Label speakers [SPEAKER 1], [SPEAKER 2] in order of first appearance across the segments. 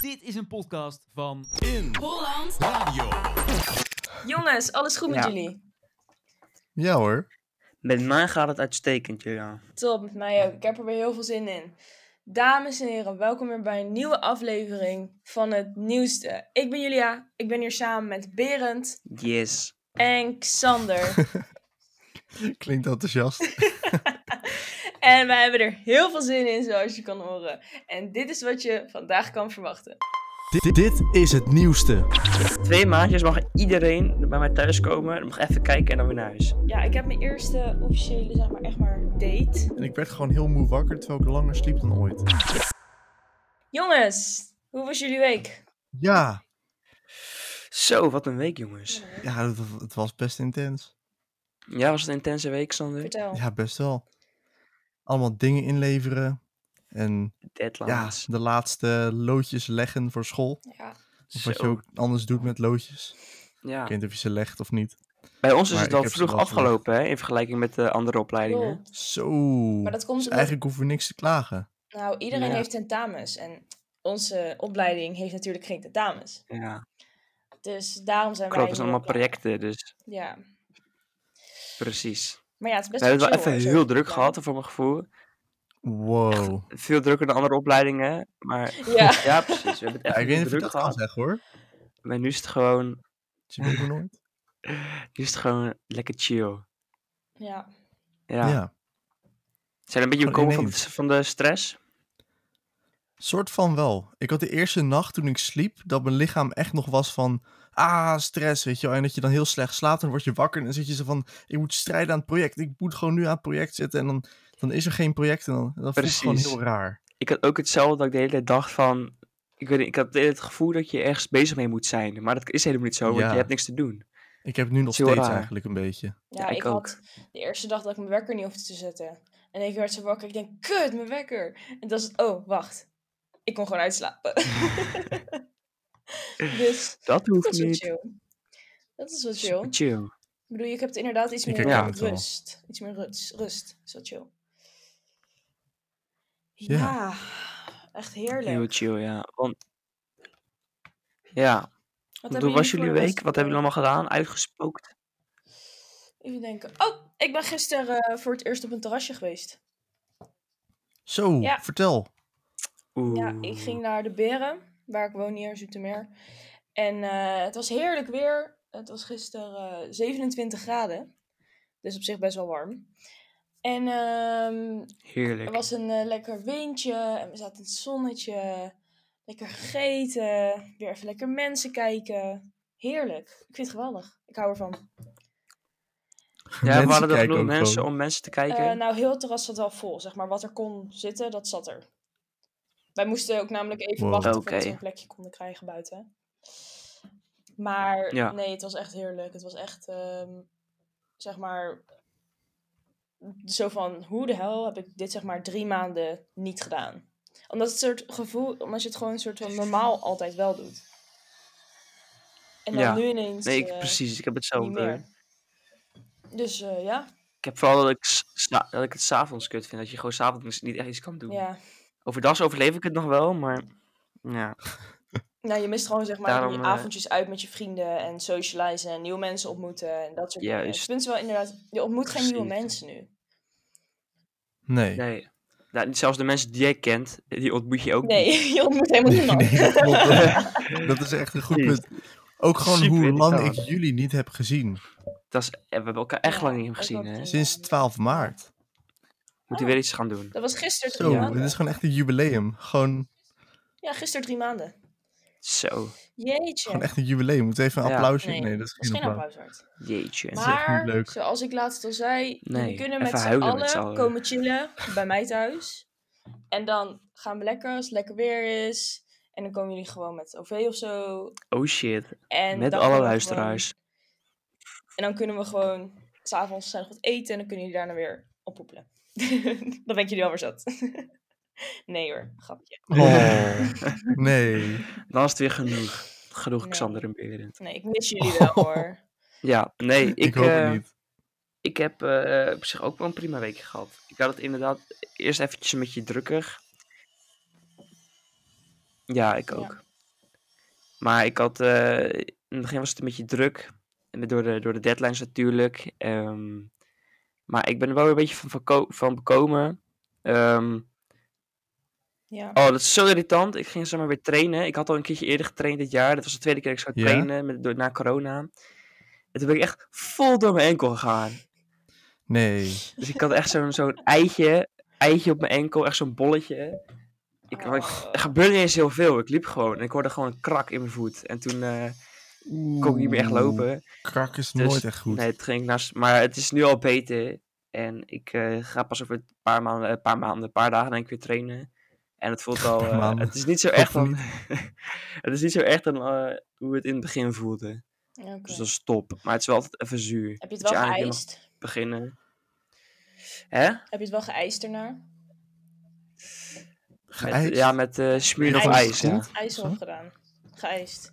[SPEAKER 1] Dit is een podcast van
[SPEAKER 2] In
[SPEAKER 3] Holland.
[SPEAKER 2] Radio.
[SPEAKER 3] Jongens, alles goed met
[SPEAKER 4] Ja.
[SPEAKER 3] jullie?
[SPEAKER 5] Ja hoor.
[SPEAKER 4] Met mij gaat het uitstekend, ja.
[SPEAKER 3] Top, met mij ook. Ik heb er weer heel veel zin in. Dames en heren, welkom weer bij een nieuwe aflevering van het nieuwste. Ik ben Julia, ik ben hier samen met Berend
[SPEAKER 4] Yes.
[SPEAKER 3] en Xander.
[SPEAKER 5] Klinkt enthousiast.
[SPEAKER 3] en wij hebben er heel veel zin in, zoals je kan horen. En dit is wat je vandaag kan verwachten.
[SPEAKER 5] dit, dit is het nieuwste.
[SPEAKER 4] Twee maandjes mag iedereen bij mij thuis komen. Dan mag even kijken en dan weer naar huis.
[SPEAKER 3] Ja, ik heb mijn eerste officiële, zeg maar, echt maar, date.
[SPEAKER 5] En ik werd gewoon heel moe wakker terwijl ik langer sliep dan ooit.
[SPEAKER 3] Jongens, hoe was jullie week?
[SPEAKER 5] Ja,
[SPEAKER 4] Zo, wat een week, jongens.
[SPEAKER 5] ja het, het was best intens.
[SPEAKER 4] Ja, was het een intense week, Sander?
[SPEAKER 3] Vertel.
[SPEAKER 5] Ja, best wel. Allemaal dingen inleveren. En ja,
[SPEAKER 4] Deadlines.
[SPEAKER 5] de laatste loodjes leggen voor school.
[SPEAKER 3] Ja.
[SPEAKER 5] Of
[SPEAKER 4] Zo.
[SPEAKER 5] wat je ook anders doet met loodjes.
[SPEAKER 4] Ja.
[SPEAKER 5] Ik weet niet of je ze legt of niet.
[SPEAKER 4] Bij ons is
[SPEAKER 5] Maar
[SPEAKER 4] het al
[SPEAKER 5] ik heb ze
[SPEAKER 4] vroeg
[SPEAKER 5] wel gelegd.
[SPEAKER 4] afgelopen, hè? In vergelijking met de andere opleidingen.
[SPEAKER 3] Klopt.
[SPEAKER 5] Zo.
[SPEAKER 3] Maar dat komt
[SPEAKER 5] Dus
[SPEAKER 3] omdat
[SPEAKER 5] eigenlijk hoeven we niks te klagen.
[SPEAKER 3] Nou, iedereen
[SPEAKER 4] Ja.
[SPEAKER 3] heeft tentamens. En onze opleiding heeft natuurlijk geen tentamens.
[SPEAKER 4] Ja.
[SPEAKER 3] Dus daarom zijn
[SPEAKER 4] Klopt,
[SPEAKER 3] wij...
[SPEAKER 4] het
[SPEAKER 3] nu
[SPEAKER 4] zijn allemaal
[SPEAKER 3] ook eh, klaar.
[SPEAKER 4] projecten, dus
[SPEAKER 3] Ja.
[SPEAKER 4] precies.
[SPEAKER 3] Maar ja, het is best
[SPEAKER 4] We hebben het
[SPEAKER 3] chill,
[SPEAKER 4] wel even
[SPEAKER 3] hoor, zo
[SPEAKER 4] heel
[SPEAKER 3] te
[SPEAKER 4] druk
[SPEAKER 3] doen.
[SPEAKER 4] gehad, voor mijn gevoel.
[SPEAKER 5] Wow.
[SPEAKER 4] Veel drukker dan andere opleidingen, maar...
[SPEAKER 3] Ja.
[SPEAKER 4] Ja, precies. We hebben
[SPEAKER 5] Ja,
[SPEAKER 4] het echt
[SPEAKER 5] ik weet niet of
[SPEAKER 4] heel
[SPEAKER 5] je
[SPEAKER 4] druk
[SPEAKER 5] dat kan
[SPEAKER 4] gehad.
[SPEAKER 5] zeggen hoor.
[SPEAKER 4] Maar nu is het gewoon...
[SPEAKER 5] Dus je weet het nooit.
[SPEAKER 4] Nu is het gewoon lekker chill.
[SPEAKER 3] Ja.
[SPEAKER 4] Ja. Zijn er een beetje
[SPEAKER 5] Gewoon
[SPEAKER 4] bekomen van, de-
[SPEAKER 5] ineens.
[SPEAKER 4] van de stress?
[SPEAKER 5] Soort van wel. Ik had de eerste nacht toen ik sliep, dat mijn lichaam echt nog was van... Ah, stress, weet je wel. En dat je dan heel slecht slaapt, dan word je wakker en dan zit je zo van... Ik moet strijden aan het project, ik moet gewoon nu aan het project zitten. En dan, dan is er geen project en dan, dat voelt
[SPEAKER 4] Precies.
[SPEAKER 5] gewoon heel raar.
[SPEAKER 4] Ik had ook hetzelfde dat ik de hele tijd dacht van... Ik, weet, niet, ik had de hele tijd het gevoel dat je ergens bezig mee moet zijn. Maar dat is helemaal niet zo, want
[SPEAKER 5] Ja.
[SPEAKER 4] je hebt niks te doen.
[SPEAKER 5] Ik heb het nu nog
[SPEAKER 4] is heel
[SPEAKER 5] steeds
[SPEAKER 4] raar.
[SPEAKER 5] eigenlijk een beetje.
[SPEAKER 3] Ja,
[SPEAKER 4] Ja,
[SPEAKER 3] ik,
[SPEAKER 4] ik ook.
[SPEAKER 3] had de eerste dag dat ik mijn wekker niet hoefde te zetten. En ik werd zo wakker. Ik denk, kut, mijn wekker. En dat is het, oh, wacht. Ik kon gewoon uitslapen. dus
[SPEAKER 4] Dat
[SPEAKER 3] dat
[SPEAKER 4] hoeft
[SPEAKER 3] is wel
[SPEAKER 4] niet.
[SPEAKER 3] chill. Dat is wel
[SPEAKER 4] Super
[SPEAKER 3] chill.
[SPEAKER 4] chill.
[SPEAKER 3] Ik bedoel, ik heb het inderdaad iets
[SPEAKER 5] Ik
[SPEAKER 3] meer eh,
[SPEAKER 4] herken
[SPEAKER 5] het wel.
[SPEAKER 3] rust. Iets meer rust. Rust. Is wel chill. Ja.
[SPEAKER 5] Ja.
[SPEAKER 3] Echt heerlijk.
[SPEAKER 4] Heel chill, ja. Want, ja,
[SPEAKER 3] Wat hebben
[SPEAKER 4] hoe was
[SPEAKER 3] voor
[SPEAKER 4] jullie
[SPEAKER 3] rust
[SPEAKER 4] week? Wat hebben jullie allemaal gedaan? Uitgespookt?
[SPEAKER 3] Even denken. Oh, ik ben gisteren eh, voor het eerst op een terrasje geweest.
[SPEAKER 5] Zo,
[SPEAKER 3] Ja.
[SPEAKER 5] vertel.
[SPEAKER 4] Oeh.
[SPEAKER 3] Ja, ik ging naar de Beren, waar ik woon hier in Zoetermeer. En eh, het was heerlijk weer. Het was gisteren eh, 27 graden. Dus op zich best wel warm. En ehm,
[SPEAKER 4] Heerlijk.
[SPEAKER 3] Er was een eh, lekker windje en we zaten in het zonnetje. Lekker gegeten. Weer even lekker mensen kijken. Heerlijk. Ik vind het geweldig. Ik hou ervan.
[SPEAKER 4] Ja, we hadden er
[SPEAKER 5] kijken
[SPEAKER 4] genoeg
[SPEAKER 5] ook
[SPEAKER 4] mensen
[SPEAKER 5] gewoon.
[SPEAKER 4] om mensen te kijken.
[SPEAKER 3] Eh, nou, heel het terras zat wel vol. Zeg maar wat er kon zitten, dat zat er. Wij moesten ook namelijk even
[SPEAKER 5] Wow.
[SPEAKER 3] wachten voordat
[SPEAKER 4] Oké.
[SPEAKER 3] we dus een plekje konden krijgen buiten. Maar
[SPEAKER 4] Ja.
[SPEAKER 3] nee, het was echt heerlijk. Het was echt, ehm, zeg maar, zo van hoe de hel heb ik dit zeg maar drie maanden niet gedaan. Omdat het soort gevoel, omdat je het gewoon een soort van normaal altijd wel doet. En dan
[SPEAKER 4] Ja.
[SPEAKER 3] nu ineens
[SPEAKER 4] nee, ik,
[SPEAKER 3] eh,
[SPEAKER 4] precies. Ik
[SPEAKER 3] niet
[SPEAKER 4] heb hetzelfde.
[SPEAKER 3] meer. Dus eh, ja,
[SPEAKER 4] Ik heb vooral dat ik, s- sna- dat ik het s'avonds kut vind. Dat je gewoon s'avonds niet echt iets kan doen.
[SPEAKER 3] ja.
[SPEAKER 4] Overdag overleef ik het nog wel, maar... Ja,
[SPEAKER 3] Nou, je mist gewoon zeg maar
[SPEAKER 4] Daarom,
[SPEAKER 3] die
[SPEAKER 4] eh,
[SPEAKER 3] avondjes uit met je vrienden en socializen en nieuwe mensen ontmoeten en dat soort dingen. Ik
[SPEAKER 4] Juist.
[SPEAKER 3] vind het wel inderdaad, je ontmoet geen nieuwe
[SPEAKER 4] Precies.
[SPEAKER 3] mensen nu.
[SPEAKER 5] Nee.
[SPEAKER 4] nee. Nou, niet zelfs de mensen die jij kent, die ontmoet je ook niet.
[SPEAKER 3] Nee, je ontmoet helemaal niemand.
[SPEAKER 5] Nee, dat, klopt. Dat- dat is echt een goed
[SPEAKER 4] Precies.
[SPEAKER 5] punt. Ook gewoon
[SPEAKER 4] Super
[SPEAKER 5] hoe lang ik
[SPEAKER 4] irritant.
[SPEAKER 5] jullie niet heb gezien.
[SPEAKER 4] Dat is, eh, we hebben elkaar echt
[SPEAKER 3] Ja,
[SPEAKER 4] lang niet meer
[SPEAKER 3] dat
[SPEAKER 4] gezien,
[SPEAKER 3] klopt. Oh.
[SPEAKER 4] hè?
[SPEAKER 5] Sinds 12 maart.
[SPEAKER 4] Moeten we weer iets gaan doen.
[SPEAKER 3] Dat was gisteren drie
[SPEAKER 5] Zo,
[SPEAKER 4] Ja.
[SPEAKER 5] dit
[SPEAKER 3] maanden.
[SPEAKER 5] is gewoon echt een jubileum. Gewoon,
[SPEAKER 3] Ja, gisteren drie maanden.
[SPEAKER 4] Zo,
[SPEAKER 3] Jeetje.
[SPEAKER 5] gewoon echt een jubileum. Moet even een
[SPEAKER 4] Ja.
[SPEAKER 5] applausje.
[SPEAKER 3] Nee,
[SPEAKER 5] Nee, dat is
[SPEAKER 3] Dat is
[SPEAKER 5] geen
[SPEAKER 3] geen
[SPEAKER 5] applaus.
[SPEAKER 3] applaus waard.
[SPEAKER 4] jeetje.
[SPEAKER 5] is echt niet
[SPEAKER 3] Maar,
[SPEAKER 5] leuk.
[SPEAKER 3] zoals ik laatst al zei, we
[SPEAKER 4] Nee,
[SPEAKER 3] kunnen
[SPEAKER 4] even
[SPEAKER 3] met z'n
[SPEAKER 4] huilen met
[SPEAKER 3] allen
[SPEAKER 4] z'n allen.
[SPEAKER 3] komen chillen bij mij thuis. En dan gaan we lekker als het lekker weer is. En dan komen jullie gewoon met OV of zo.
[SPEAKER 4] Oh shit,
[SPEAKER 3] En
[SPEAKER 4] met
[SPEAKER 3] dan eh, kunnen
[SPEAKER 4] alle
[SPEAKER 3] we
[SPEAKER 4] luisteraars.
[SPEAKER 3] En dan kunnen we gewoon s'avonds zijn wat eten en dan kunnen jullie daarna weer oppoepelen. dan ben ik jullie alweer zat. nee hoor, grapje.
[SPEAKER 5] Oh, nee.
[SPEAKER 4] Dan is het weer genoeg. Genoeg
[SPEAKER 3] Nee.
[SPEAKER 4] Xander en Berend.
[SPEAKER 3] Nee, ik mis jullie wel hoor.
[SPEAKER 4] Ja, nee, ik,
[SPEAKER 5] Ik, hoop
[SPEAKER 4] eh,
[SPEAKER 5] het niet.
[SPEAKER 4] ik heb eh, op zich ook wel een prima weekje gehad. Ik had het inderdaad eerst eventjes een beetje drukker. Ja, ik
[SPEAKER 3] Ja.
[SPEAKER 4] ook. Maar ik had... eh, in het begin was het een beetje druk. met- Door de, door de deadlines natuurlijk. Ehm, maar ik ben er wel weer een beetje van, verko- van bekomen. Ehm,
[SPEAKER 3] Ja.
[SPEAKER 4] oh, dat is zo irritant. Ik ging zomaar weer trainen. Ik had al een keertje eerder getraind dit jaar. Dat was de tweede keer dat ik
[SPEAKER 5] Ja?
[SPEAKER 4] zou trainen met, door, na corona. En toen ben ik echt vol door mijn enkel gegaan.
[SPEAKER 5] Nee.
[SPEAKER 4] Dus ik had echt zo'n zo'n eitje, eitje op mijn enkel, echt zo'n bolletje. Ik,
[SPEAKER 3] Oh.
[SPEAKER 4] ik- er gebeurde niet eens heel veel. Ik liep gewoon en ik hoorde gewoon een krak in mijn voet. En toen eh, kon ik niet meer echt lopen.
[SPEAKER 5] Krak is
[SPEAKER 4] Dus-
[SPEAKER 5] nooit echt goed.
[SPEAKER 4] Nee, het ging naast. Maar het is nu al beter. En ik eh, ga pas over een paar maanden, een paar maanden, een paar dagen denk ik weer trainen. En het voelt al. eh,
[SPEAKER 5] maanden.
[SPEAKER 4] het is niet zo
[SPEAKER 5] Hoop
[SPEAKER 4] echt
[SPEAKER 5] van
[SPEAKER 4] dan. het is niet zo echt dan eh, hoe het in het begin voelde.
[SPEAKER 3] Ja, oké.
[SPEAKER 4] Dus dat is top. Maar het is wel altijd even zuur.
[SPEAKER 3] Heb je het
[SPEAKER 4] dat
[SPEAKER 3] wel
[SPEAKER 4] eigenlijk helemaal-
[SPEAKER 3] geëist?
[SPEAKER 4] Beginnen. Hè?
[SPEAKER 3] Heb je het wel geëist erna?
[SPEAKER 4] Met-
[SPEAKER 5] Geëist?
[SPEAKER 4] ja, met eh Smirnoff
[SPEAKER 3] Ijs.
[SPEAKER 4] ijs. Ja.
[SPEAKER 3] IJs
[SPEAKER 5] Zo?
[SPEAKER 3] op gedaan. Geëist.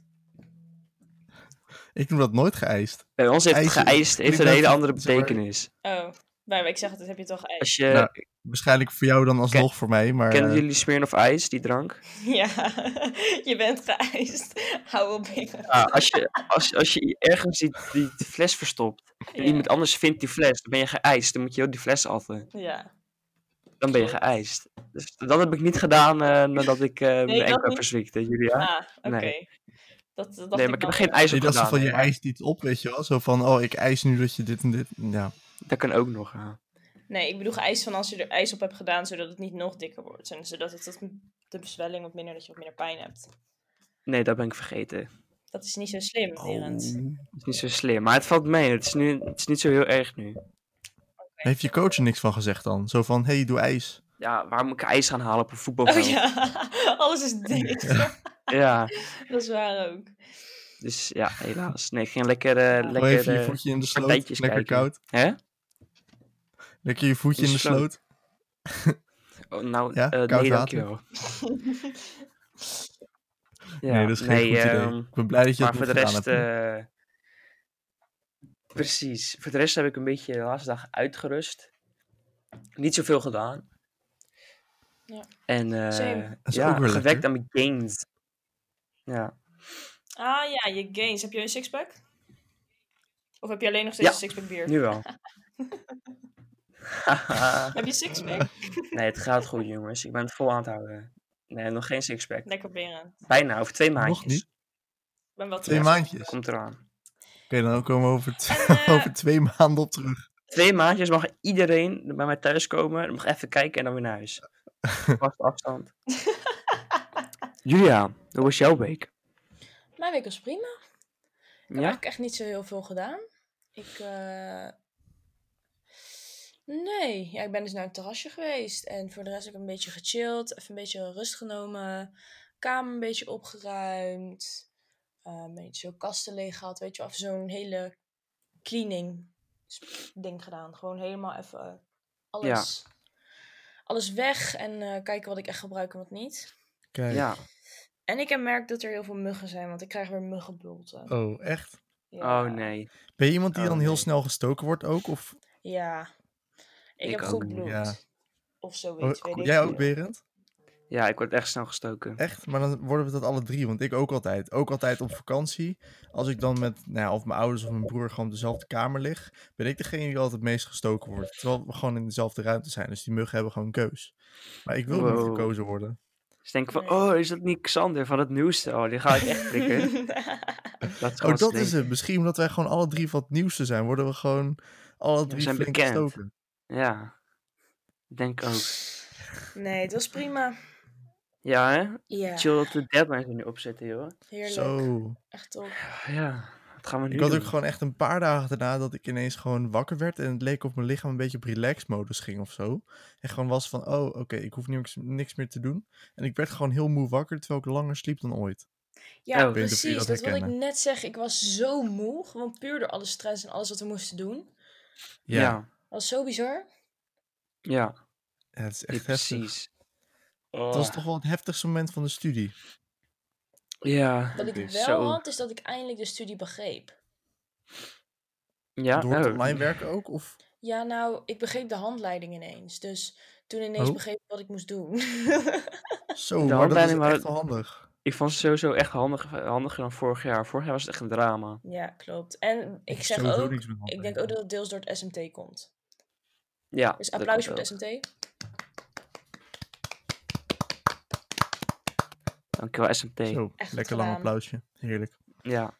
[SPEAKER 5] Ik noem dat nooit geëist.
[SPEAKER 4] Bij ons heeft het
[SPEAKER 5] Ijs-
[SPEAKER 4] geëist heeft
[SPEAKER 5] klinkt
[SPEAKER 4] een
[SPEAKER 5] net
[SPEAKER 4] hele
[SPEAKER 5] als-
[SPEAKER 4] andere
[SPEAKER 5] zeg maar-
[SPEAKER 4] betekenis.
[SPEAKER 3] Oh. Maar ik zeg het, heb je het wel geëist?
[SPEAKER 4] Als je,
[SPEAKER 5] Nou, Waarschijnlijk voor jou dan alsnog voor mij, maar...
[SPEAKER 4] Kennen
[SPEAKER 5] eh,
[SPEAKER 4] jullie Smirnoff ijs, die drank?
[SPEAKER 3] Ja. je bent geëist. Hou op. binnen.
[SPEAKER 4] Ja, als, je, als, als je ergens die, die fles verstopt en iemand anders vindt die fles, dan ben je geëist. Dan moet je heel die fles atten.
[SPEAKER 3] Ja.
[SPEAKER 4] Dan ben je geëist. Dus dat heb ik niet gedaan eh, nadat ik eh mijn
[SPEAKER 3] dat
[SPEAKER 4] enkel heb
[SPEAKER 3] niet.
[SPEAKER 4] verzwikt, hè, Julia.
[SPEAKER 3] Ah, oké.
[SPEAKER 4] Nee.
[SPEAKER 3] Dat, dat
[SPEAKER 4] nee, maar ik heb
[SPEAKER 3] dan
[SPEAKER 4] er geen
[SPEAKER 3] wel.
[SPEAKER 4] ijs op
[SPEAKER 5] Ik dacht zo
[SPEAKER 4] gedaan.
[SPEAKER 5] van, je
[SPEAKER 4] hè.
[SPEAKER 5] eist niet op, weet je wel. Zo van, oh, ik eis nu dat je dit en dit... Ja,
[SPEAKER 4] Dat kan ook nog. hè.
[SPEAKER 3] Nee, ik bedoel geëist van als je er ijs op hebt gedaan, zodat het niet nog dikker wordt. En zodat het, dat de bezwelling wat minder, dat je wat minder pijn hebt.
[SPEAKER 4] Nee, dat ben ik vergeten.
[SPEAKER 3] Dat is niet zo slim,
[SPEAKER 5] Oh,
[SPEAKER 3] Berend.
[SPEAKER 4] Dat is niet zo slim. Maar het valt mee. Het is, nu, het is niet zo heel erg nu.
[SPEAKER 5] Heeft je coach er niks van gezegd dan? Zo van, hey, doe ijs.
[SPEAKER 4] Ja, waar moet ik ijs gaan halen op een
[SPEAKER 3] Oh,
[SPEAKER 4] voetbalveld?
[SPEAKER 3] ja, alles is dik.
[SPEAKER 4] ja.
[SPEAKER 3] dat is waar ook.
[SPEAKER 4] Dus ja, helaas. Nee, ik ging lekker... eh,
[SPEAKER 3] Ja.
[SPEAKER 5] Gewoon even
[SPEAKER 4] lekker
[SPEAKER 5] je
[SPEAKER 4] eh,
[SPEAKER 5] voetje in de sloot. Lekker
[SPEAKER 4] partijtjes kijken.
[SPEAKER 5] koud.
[SPEAKER 4] hè?
[SPEAKER 5] Lekker je voetje
[SPEAKER 4] In
[SPEAKER 5] in
[SPEAKER 4] de
[SPEAKER 5] de sloot.
[SPEAKER 4] Oh, nou,
[SPEAKER 5] Ja,
[SPEAKER 4] eh,
[SPEAKER 5] koud water.
[SPEAKER 4] nee, dankjewel. ja,
[SPEAKER 5] nee, dat is geen goed
[SPEAKER 4] ehm,
[SPEAKER 5] idee. Ik ben blij dat je
[SPEAKER 4] maar
[SPEAKER 5] het
[SPEAKER 4] voor
[SPEAKER 5] niet
[SPEAKER 4] de
[SPEAKER 5] gedaan
[SPEAKER 4] rest...
[SPEAKER 5] hebt. hoor.
[SPEAKER 4] eh, precies. Voor de rest heb ik een beetje de laatste dag uitgerust. Niet zoveel gedaan.
[SPEAKER 3] Ja.
[SPEAKER 4] En eh,
[SPEAKER 3] Same.
[SPEAKER 5] is
[SPEAKER 4] ja,
[SPEAKER 5] ook weer
[SPEAKER 4] gewerkt
[SPEAKER 5] lekker.
[SPEAKER 4] aan mijn gains. Ja.
[SPEAKER 3] Ah ja, je gains. Heb je een sixpack? Of heb je alleen nog steeds
[SPEAKER 4] Ja.
[SPEAKER 3] een sixpack bier?
[SPEAKER 4] Nu wel.
[SPEAKER 3] Heb je sixpack?
[SPEAKER 4] nee, het gaat goed, jongens. Ik ben het vol aan het houden. Nee, nog geen sixpack.
[SPEAKER 3] Lekker Berend.
[SPEAKER 4] Bijna, over twee
[SPEAKER 5] Nog
[SPEAKER 4] maandjes.
[SPEAKER 5] niet?
[SPEAKER 3] Ik ben wel
[SPEAKER 5] Twee
[SPEAKER 3] trots op
[SPEAKER 5] maandjes.
[SPEAKER 3] je.
[SPEAKER 4] Komt eraan.
[SPEAKER 5] Oké, dan komen we over, t-
[SPEAKER 3] En, eh,
[SPEAKER 5] over twee maanden op terug.
[SPEAKER 4] Twee maandjes mag iedereen bij mij thuis komen. Mag even kijken en dan weer naar huis. Vast afstand. Julia, hoe was jouw week?
[SPEAKER 3] eh, Mijn week was prima. Ik heb
[SPEAKER 4] Ja?
[SPEAKER 3] eigenlijk echt niet zo heel veel gedaan. Ik, eh, nee. Ja, ik ben dus naar een terrasje geweest. En voor de rest heb ik een beetje gechilled. Even een beetje rust genomen. Kamer een beetje opgeruimd. Eh, een beetje zo kasten leeg gehad. Weet je, wel, even zo'n hele cleaning sp- ding gedaan. Gewoon helemaal even eh, alles, alles weg. En eh, kijken wat ik echt gebruik en wat niet.
[SPEAKER 5] Kijk.
[SPEAKER 4] Ja.
[SPEAKER 3] En ik heb merkt dat er heel veel muggen zijn. Want ik krijg weer muggenbulten.
[SPEAKER 5] Oh, echt?
[SPEAKER 3] Ja.
[SPEAKER 4] Oh nee.
[SPEAKER 5] Ben je iemand die
[SPEAKER 4] Oh,
[SPEAKER 5] dan heel
[SPEAKER 4] nee.
[SPEAKER 5] snel gestoken wordt ook? Of,
[SPEAKER 3] Ja. Ik,
[SPEAKER 4] Ik
[SPEAKER 3] heb
[SPEAKER 4] ook
[SPEAKER 3] goed
[SPEAKER 4] niet.
[SPEAKER 3] bloed.
[SPEAKER 5] Ja.
[SPEAKER 3] Of zoiets,
[SPEAKER 5] Oh,
[SPEAKER 3] weet
[SPEAKER 5] goed.
[SPEAKER 3] ik
[SPEAKER 5] jij ook,
[SPEAKER 3] veel.
[SPEAKER 5] Berend?
[SPEAKER 4] Ja, ik word echt snel gestoken.
[SPEAKER 5] Echt? Maar dan worden we dat alle drie, want ik ook altijd. Ook altijd op vakantie. Als ik dan met nou ja, of mijn ouders of mijn broer gewoon op dezelfde kamer lig, ben ik degene die altijd het meest gestoken wordt. Terwijl we gewoon in dezelfde ruimte zijn, dus die muggen hebben gewoon keus. Maar ik wil niet
[SPEAKER 4] Wow.
[SPEAKER 5] gekozen worden.
[SPEAKER 4] Dus denk ik van,
[SPEAKER 3] Nee.
[SPEAKER 4] oh, is dat niet Xander van het nieuwste? Oh, die ga ik echt prikken. Dat is
[SPEAKER 5] Oh,
[SPEAKER 4] gewoon
[SPEAKER 5] dat
[SPEAKER 4] slim.
[SPEAKER 5] is het. Misschien omdat wij gewoon alle drie van het nieuwste zijn, worden we gewoon alle drie
[SPEAKER 4] zijn
[SPEAKER 5] flink
[SPEAKER 4] bekend.
[SPEAKER 5] gestoken.
[SPEAKER 4] Ja. Ik Denk ook.
[SPEAKER 3] nee, het was prima.
[SPEAKER 4] Ja, hè?
[SPEAKER 3] Ja,
[SPEAKER 4] Chill dat we deadlines er nu opzetten, joh.
[SPEAKER 3] heerlijk.
[SPEAKER 5] Zo.
[SPEAKER 3] Echt top.
[SPEAKER 4] Ja, wat gaan we nu
[SPEAKER 5] Ik had
[SPEAKER 4] doen?
[SPEAKER 5] ook gewoon echt een paar dagen daarna dat ik ineens gewoon wakker werd en het leek of mijn lichaam een beetje op relax-modus ging of zo. En gewoon was van, oh, oké, ik hoef niks, niks meer te doen. En ik werd gewoon heel moe wakker, terwijl ik langer sliep dan ooit.
[SPEAKER 3] Ja,
[SPEAKER 4] Oh. Ik weet niet of
[SPEAKER 5] jullie
[SPEAKER 3] precies.
[SPEAKER 5] dat
[SPEAKER 3] Dat wilde ik
[SPEAKER 5] herkennen.
[SPEAKER 3] net zeggen. Ik was zo moe. Gewoon puur door alle stress en alles wat we moesten doen.
[SPEAKER 4] Ja, ja.
[SPEAKER 3] Dat was zo bizar.
[SPEAKER 4] ja.
[SPEAKER 5] Ja, het is
[SPEAKER 4] Ja,
[SPEAKER 5] echt heftig.
[SPEAKER 4] precies.
[SPEAKER 3] Oh.
[SPEAKER 5] Dat was toch wel het heftigste moment van de studie.
[SPEAKER 4] Ja.
[SPEAKER 3] Wat ik
[SPEAKER 5] Oké,
[SPEAKER 3] wel
[SPEAKER 4] zo.
[SPEAKER 3] had, is dat ik eindelijk de studie begreep.
[SPEAKER 4] ja.
[SPEAKER 5] Door het
[SPEAKER 4] oh.
[SPEAKER 5] online werken ook? Of...
[SPEAKER 3] Ja, nou, ik begreep de handleiding ineens. Dus toen ineens
[SPEAKER 5] Oh.
[SPEAKER 3] begreep ik wat ik moest doen.
[SPEAKER 5] Zo,
[SPEAKER 4] De
[SPEAKER 5] maar dat is
[SPEAKER 4] handleiding waren-
[SPEAKER 5] echt wel handig.
[SPEAKER 4] Ik vond het sowieso echt handig, handiger dan vorig jaar. Vorig jaar was het echt een drama.
[SPEAKER 3] ja, klopt. En ik zeg
[SPEAKER 5] Sowieso
[SPEAKER 3] ook,
[SPEAKER 5] niks met
[SPEAKER 3] ik denk
[SPEAKER 5] handleiding.
[SPEAKER 3] ook dat het deels door het SMT komt.
[SPEAKER 4] Ja,
[SPEAKER 3] Dus
[SPEAKER 4] dat
[SPEAKER 3] applaus
[SPEAKER 4] komt
[SPEAKER 3] voor
[SPEAKER 4] ook.
[SPEAKER 3] het SMT.
[SPEAKER 4] Dankjewel, SMT.
[SPEAKER 5] Zo,
[SPEAKER 3] Echt
[SPEAKER 5] lekker
[SPEAKER 3] gedaan.
[SPEAKER 5] lang applausje. Heerlijk.
[SPEAKER 4] Ja.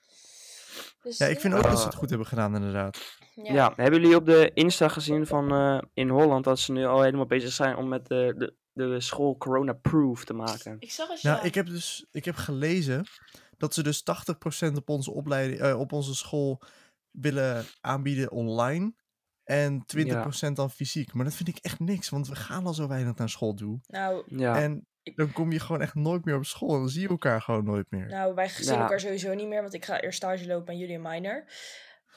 [SPEAKER 3] Dus,
[SPEAKER 5] Ja, ik vind ook
[SPEAKER 4] Ah.
[SPEAKER 5] dat ze het goed hebben gedaan, inderdaad.
[SPEAKER 4] Ja. hebben jullie op de Insta gezien van eh, in Holland dat ze nu al helemaal bezig zijn om met de, de, de school corona-proof te maken?
[SPEAKER 3] Ik zag het, ja.
[SPEAKER 5] Nou, ik heb dus ik heb gelezen dat ze dus 80% op onze, opleiding, eh, op onze school willen aanbieden online. En 20% dan fysiek. Maar dat vind ik echt niks, want we gaan al zo weinig naar school toe.
[SPEAKER 3] Nou,
[SPEAKER 4] Ja,
[SPEAKER 5] En
[SPEAKER 3] Ik-
[SPEAKER 5] dan kom je gewoon echt nooit meer op school. Dan zie je elkaar gewoon nooit meer.
[SPEAKER 3] nou, wij zien
[SPEAKER 4] Ja.
[SPEAKER 3] elkaar sowieso niet meer, want ik ga eerst stage lopen aan jullie en minor.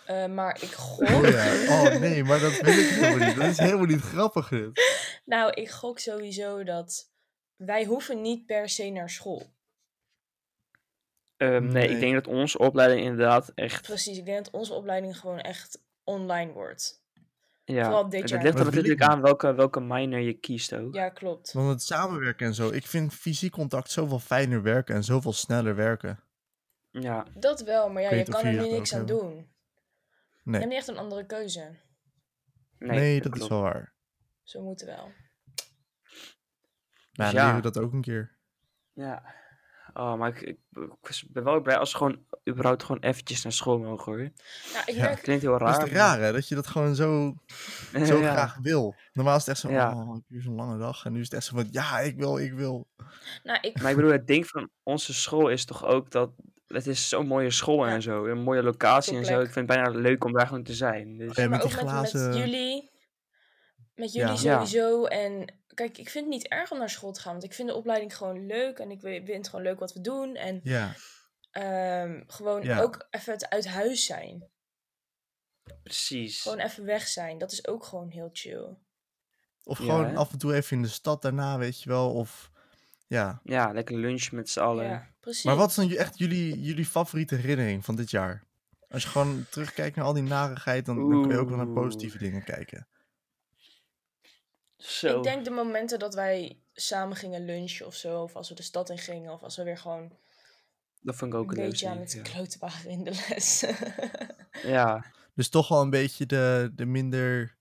[SPEAKER 3] Eh, maar ik gok...
[SPEAKER 5] Oh ja, oh nee, maar dat weet ik helemaal niet. Dat is helemaal niet grappig dit.
[SPEAKER 3] Nou, ik gok sowieso dat wij hoeven niet per se naar school.
[SPEAKER 4] Ehm, nee,
[SPEAKER 5] nee.
[SPEAKER 4] ik denk dat onze opleiding inderdaad echt.
[SPEAKER 3] Precies, ik denk dat onze opleiding gewoon echt online wordt.
[SPEAKER 4] Ja,
[SPEAKER 3] Vooral dit jaar.
[SPEAKER 4] Het ligt
[SPEAKER 5] Maar
[SPEAKER 4] er
[SPEAKER 5] dat wil ik
[SPEAKER 4] natuurlijk aan welke, welke minor je kiest ook.
[SPEAKER 3] Ja, klopt.
[SPEAKER 5] Want het samenwerken en zo. Ik vind fysiek contact zoveel fijner werken en zoveel sneller werken.
[SPEAKER 4] ja.
[SPEAKER 3] Dat wel, maar ja,
[SPEAKER 5] Ik weet
[SPEAKER 3] je
[SPEAKER 5] niet of
[SPEAKER 3] kan er
[SPEAKER 5] jullie
[SPEAKER 3] nu
[SPEAKER 5] dat
[SPEAKER 3] niks
[SPEAKER 5] ook
[SPEAKER 3] aan
[SPEAKER 5] hebben.
[SPEAKER 3] doen. Je
[SPEAKER 5] Nee.
[SPEAKER 3] hebt niet echt een andere keuze.
[SPEAKER 5] Nee,
[SPEAKER 4] Nee,
[SPEAKER 5] dat, is
[SPEAKER 4] klopt.
[SPEAKER 5] wel waar.
[SPEAKER 3] Ze moeten wel.
[SPEAKER 5] Maar
[SPEAKER 4] Dus
[SPEAKER 5] Nou, dan leren
[SPEAKER 4] ja.
[SPEAKER 5] we dat ook een keer.
[SPEAKER 4] Ja. Oh, maar ik, ik, ik was- ben wel blij als ze gewoon überhaupt gewoon eventjes naar school mogen hoor.
[SPEAKER 3] Nou, ik
[SPEAKER 5] Ja.
[SPEAKER 3] merk,
[SPEAKER 4] Klinkt heel raar.
[SPEAKER 5] dat is het raar, hè? Dat je dat gewoon zo,
[SPEAKER 4] maar-
[SPEAKER 5] zo
[SPEAKER 4] Ja.
[SPEAKER 5] graag wil. Normaal is het echt zo,
[SPEAKER 4] Ja.
[SPEAKER 5] oh, ik heb hier zo'n lange dag. En nu is het echt zo van, ja, ik wil, ik wil.
[SPEAKER 3] nou, ik,
[SPEAKER 4] Maar ik bedoel, het ding van onze school is toch ook dat het is zo'n mooie school
[SPEAKER 3] Ja.
[SPEAKER 4] en zo, een mooie locatie en zo.
[SPEAKER 3] Topplek.
[SPEAKER 4] Ik vind het bijna leuk om daar gewoon te zijn. Dus,
[SPEAKER 5] Ja,
[SPEAKER 3] maar
[SPEAKER 5] met die
[SPEAKER 3] ook met, met
[SPEAKER 5] glazen...
[SPEAKER 3] jullie. Met
[SPEAKER 5] Ja.
[SPEAKER 3] jullie
[SPEAKER 4] Ja.
[SPEAKER 3] sowieso. En kijk, ik vind het niet erg om naar school te gaan. Want ik vind de opleiding gewoon leuk. En ik we- vind het gewoon leuk wat we doen. En
[SPEAKER 5] Ja,
[SPEAKER 3] ehm, gewoon
[SPEAKER 5] Ja.
[SPEAKER 3] ook even het uit huis zijn.
[SPEAKER 4] precies.
[SPEAKER 3] Gewoon even weg zijn. Dat is ook gewoon heel chill.
[SPEAKER 5] of
[SPEAKER 4] Ja,
[SPEAKER 5] gewoon
[SPEAKER 4] hè?
[SPEAKER 5] af en toe even in de stad daarna, weet je wel. Of, ja.
[SPEAKER 4] Ja, lekker lunchen met z'n allen.
[SPEAKER 3] Ja, precies.
[SPEAKER 5] Maar wat is dan ju- echt jullie, jullie favoriete herinnering van dit jaar? Als je gewoon terugkijkt naar al die narigheid, dan, dan kun je ook wel naar
[SPEAKER 4] Oeh.
[SPEAKER 5] positieve dingen kijken.
[SPEAKER 4] Zo.
[SPEAKER 3] Ik denk de momenten dat wij samen gingen lunchen of zo. Of als we de stad in gingen. Of als we weer gewoon
[SPEAKER 4] dat vond ik ook
[SPEAKER 3] een
[SPEAKER 4] een leuk
[SPEAKER 3] beetje aan het
[SPEAKER 4] ding,
[SPEAKER 3] kloten waren in de les.
[SPEAKER 4] ja. ja.
[SPEAKER 5] Dus toch wel een beetje de, de minder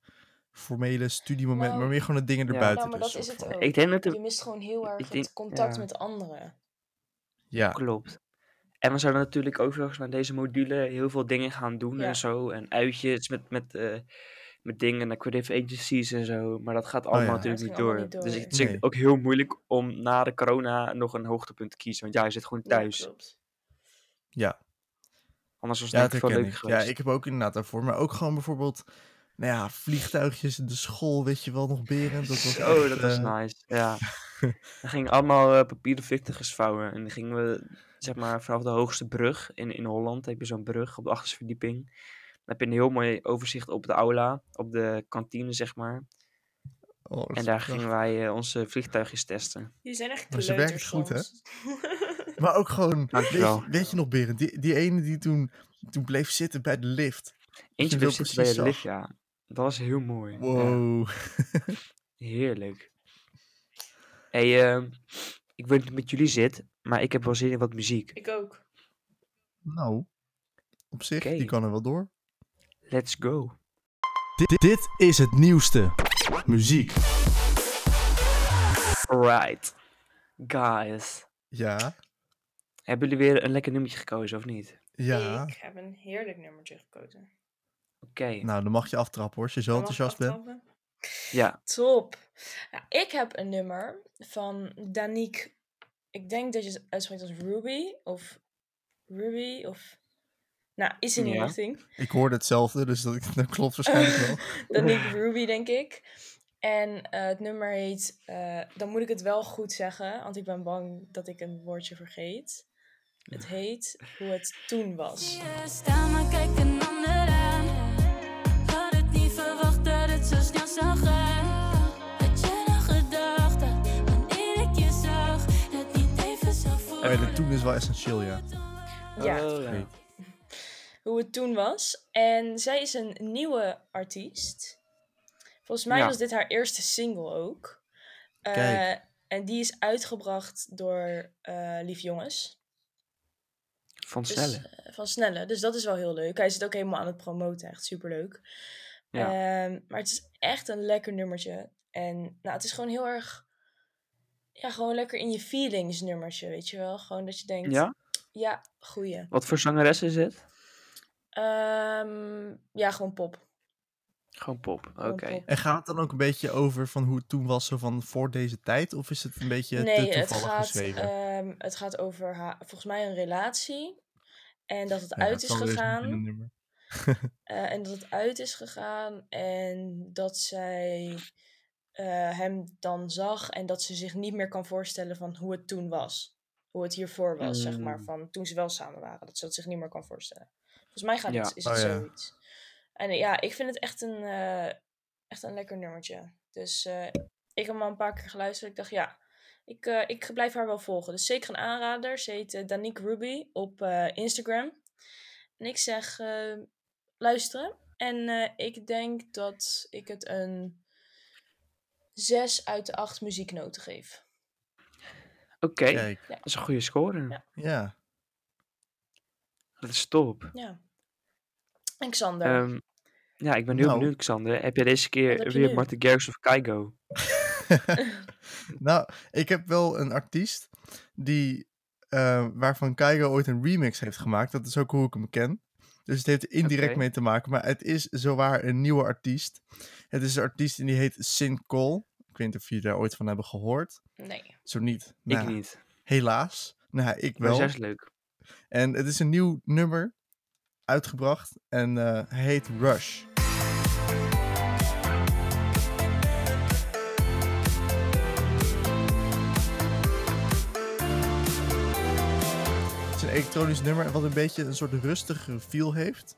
[SPEAKER 5] formele studiemoment,
[SPEAKER 3] Nou,
[SPEAKER 5] maar meer gewoon de dingen
[SPEAKER 4] ja.
[SPEAKER 5] erbuiten.
[SPEAKER 3] nou, maar dat
[SPEAKER 5] dus,
[SPEAKER 3] is
[SPEAKER 5] soort
[SPEAKER 3] het
[SPEAKER 5] van.
[SPEAKER 3] ook.
[SPEAKER 4] Ik denk dat
[SPEAKER 3] Je
[SPEAKER 4] het
[SPEAKER 3] mist gewoon heel erg
[SPEAKER 4] denk-
[SPEAKER 3] het contact
[SPEAKER 4] ja.
[SPEAKER 3] met anderen.
[SPEAKER 5] Ja,
[SPEAKER 4] klopt. En we zouden natuurlijk ook volgens mij deze module heel veel dingen gaan doen
[SPEAKER 3] Ja.
[SPEAKER 4] en zo. En uitjes met, met, eh, met dingen naar creative agencies en zo. Maar dat gaat allemaal
[SPEAKER 5] Oh ja.
[SPEAKER 3] Ja,
[SPEAKER 4] natuurlijk
[SPEAKER 3] dat
[SPEAKER 4] niet
[SPEAKER 3] ging
[SPEAKER 4] door.
[SPEAKER 3] allemaal niet
[SPEAKER 4] Dus
[SPEAKER 3] door.
[SPEAKER 4] ik vind
[SPEAKER 5] Nee.
[SPEAKER 4] het ook heel moeilijk om na de corona nog een hoogtepunt te kiezen. Want ja, je zit gewoon
[SPEAKER 3] Ja,
[SPEAKER 4] thuis.
[SPEAKER 3] klopt.
[SPEAKER 5] ja.
[SPEAKER 4] Anders was het
[SPEAKER 5] Ja, dat
[SPEAKER 4] denk ik wel
[SPEAKER 5] herken
[SPEAKER 4] leuk
[SPEAKER 5] ik. Ja,
[SPEAKER 4] geweest.
[SPEAKER 5] ik heb ook inderdaad daarvoor. Maar ook gewoon bijvoorbeeld, nou ja, vliegtuigjes in de school, weet je wel, nog berend. Dat was
[SPEAKER 4] Oh,
[SPEAKER 5] echt,
[SPEAKER 4] dat was
[SPEAKER 5] eh,
[SPEAKER 4] nice. Ja. We gingen allemaal eh, papieren vliegtuigjes vouwen. En dan gingen we, zeg maar, vanaf de hoogste brug in, in Holland. heb je zo'n brug op de achterste verdieping. Dan heb je een heel mooi overzicht op de aula, op de kantine, zeg maar.
[SPEAKER 5] oh, dat
[SPEAKER 4] En
[SPEAKER 5] is
[SPEAKER 4] daar
[SPEAKER 5] prachtig.
[SPEAKER 4] gingen wij eh, onze vliegtuigjes testen.
[SPEAKER 3] Die zijn echt
[SPEAKER 5] Maar
[SPEAKER 3] kleuters
[SPEAKER 5] ze werken het goed, hè?
[SPEAKER 3] soms.
[SPEAKER 5] Maar ook gewoon, weet je,
[SPEAKER 4] Dankjewel.
[SPEAKER 5] weet je nog Berend, die, die ene die toen, toen bleef zitten bij de lift.
[SPEAKER 4] Eentje
[SPEAKER 5] wil
[SPEAKER 4] bleef zitten bij
[SPEAKER 5] precies
[SPEAKER 4] je
[SPEAKER 5] zag.
[SPEAKER 4] lift, ja. Dat was heel mooi. Ja,
[SPEAKER 5] Wow.
[SPEAKER 4] heerlijk. hey, eh, ik weet niet hoe het met jullie zit, maar ik heb wel zin in wat muziek.
[SPEAKER 3] Ik ook.
[SPEAKER 5] Nou, op zich,
[SPEAKER 4] Oké.
[SPEAKER 5] die kan er wel door.
[SPEAKER 4] Let's go.
[SPEAKER 5] Dit, dit is het nieuwste. Muziek.
[SPEAKER 4] Alright. Guys.
[SPEAKER 5] Ja,
[SPEAKER 4] Hebben jullie weer een lekker nummertje gekozen, of niet?
[SPEAKER 5] ja.
[SPEAKER 3] Ik heb een heerlijk nummertje gekozen.
[SPEAKER 4] Oké.
[SPEAKER 5] Nou, dan mag je aftrappen hoor, als je zo
[SPEAKER 3] Mag ik
[SPEAKER 5] enthousiast bent.
[SPEAKER 3] aftrappen?
[SPEAKER 4] Ja.
[SPEAKER 3] Top. Nou, ik heb een nummer van Danique. Ik denk dat je het uitspreekt als Ruby of Ruby of. Nou, is in die
[SPEAKER 4] Ja.
[SPEAKER 3] richting.
[SPEAKER 5] Ik hoorde hetzelfde, dus dat, dat klopt waarschijnlijk wel.
[SPEAKER 3] Danique Ruby, denk ik. En eh, het nummer heet. eh, dan moet ik het wel goed zeggen, want ik ben bang dat ik een woordje vergeet. Het heet Hoe het toen was.
[SPEAKER 2] Je sta maar kijk een ander aan. Had het niet verwacht dat het zo snel zou gaan. Had je nog gedacht dat wanneer ik je zag, het niet even zou voelen?
[SPEAKER 5] Oh ja, de toen is wel essentieel, ja.
[SPEAKER 3] Ja.
[SPEAKER 4] Oh,
[SPEAKER 5] Great.
[SPEAKER 3] hoe het toen was. En zij is een nieuwe artiest. Volgens mij
[SPEAKER 4] Ja.
[SPEAKER 3] was dit haar eerste single ook. Eh,
[SPEAKER 5] Kijk.
[SPEAKER 3] en die is uitgebracht door eh, Lief Jongens.
[SPEAKER 4] Van
[SPEAKER 3] Dus,
[SPEAKER 4] Cellen.
[SPEAKER 3] eh, van Snelle. Dus dat is wel heel leuk. Hij zit ook helemaal aan het promoten. Echt superleuk.
[SPEAKER 4] Ja.
[SPEAKER 3] Ehm, maar het is echt een lekker nummertje. En nou, het is gewoon heel erg... Ja, gewoon lekker in je feelings nummertje, weet je wel? Gewoon dat je denkt...
[SPEAKER 4] ja?
[SPEAKER 3] Ja, goeie.
[SPEAKER 4] Wat voor zangeres is het?
[SPEAKER 3] Ehm, ja, gewoon pop.
[SPEAKER 4] Gewoon pop. Oké.
[SPEAKER 3] Gewoon pop.
[SPEAKER 5] En gaat het dan ook een beetje over van hoe het toen was, zo van voor deze tijd? Of is het een beetje
[SPEAKER 3] nee,
[SPEAKER 5] te
[SPEAKER 3] het
[SPEAKER 5] toevallig
[SPEAKER 3] gaat,
[SPEAKER 5] geschreven?
[SPEAKER 3] ehm, het gaat over haar, volgens mij een relatie. En dat het
[SPEAKER 5] Ja,
[SPEAKER 3] uit
[SPEAKER 5] het
[SPEAKER 3] is
[SPEAKER 5] zal wel eens moeten in
[SPEAKER 3] gegaan.
[SPEAKER 5] een nummer.
[SPEAKER 3] Eh, en dat het uit is gegaan en dat zij eh, hem dan zag en dat ze zich niet meer kan voorstellen van hoe het toen was. Hoe het hiervoor was, zeg maar,
[SPEAKER 5] Hmm.
[SPEAKER 4] Mm.
[SPEAKER 3] van toen ze wel samen waren. Dat ze dat zich niet meer kan voorstellen. Volgens mij gaat
[SPEAKER 4] Ja.
[SPEAKER 3] het, is het
[SPEAKER 5] Oh, ja.
[SPEAKER 3] zoiets. En eh, ja, ik vind het echt een, eh, echt een lekker nummertje. Dus eh, ik heb hem al een paar keer geluisterd. Ik dacht, ja, ik, eh, ik blijf haar wel volgen. Dus zeker een aanrader. Ze heet eh, Danique Ruby op eh, Instagram. En ik zeg, eh, luisteren. En eh, ik denk dat ik het een 6 uit de 8 muzieknoten geef.
[SPEAKER 4] Oké,
[SPEAKER 5] Kijk,
[SPEAKER 4] dat is een goede score.
[SPEAKER 3] Ja.
[SPEAKER 5] ja.
[SPEAKER 4] Dat is top.
[SPEAKER 3] Ja. En Xander.
[SPEAKER 4] Ehm, ja, ik ben heel
[SPEAKER 5] Nou.
[SPEAKER 4] benieuwd, Xander. Heb jij deze keer
[SPEAKER 3] heb je
[SPEAKER 4] weer
[SPEAKER 3] nu?
[SPEAKER 4] Martin Garrix of Keigo?
[SPEAKER 5] nou, ik heb wel een artiest die, eh, waarvan Keigo ooit een remix heeft gemaakt. Dat is ook hoe ik hem ken. Dus het heeft er indirect
[SPEAKER 4] Oké.
[SPEAKER 5] mee te maken. Maar het is zowaar een nieuwe artiest. Het is een artiest en die heet Sin Cole. Ik weet niet of jullie daar ooit van hebben gehoord.
[SPEAKER 3] nee.
[SPEAKER 5] Zo niet.
[SPEAKER 4] Ik
[SPEAKER 5] Nou,
[SPEAKER 4] niet.
[SPEAKER 5] Helaas. Nou, ik
[SPEAKER 4] Maar
[SPEAKER 5] wel.
[SPEAKER 4] zij is leuk.
[SPEAKER 5] En het is een nieuw nummer uitgebracht en eh, hij heet Rush. Het is een elektronisch nummer wat een beetje een soort rustigere feel heeft.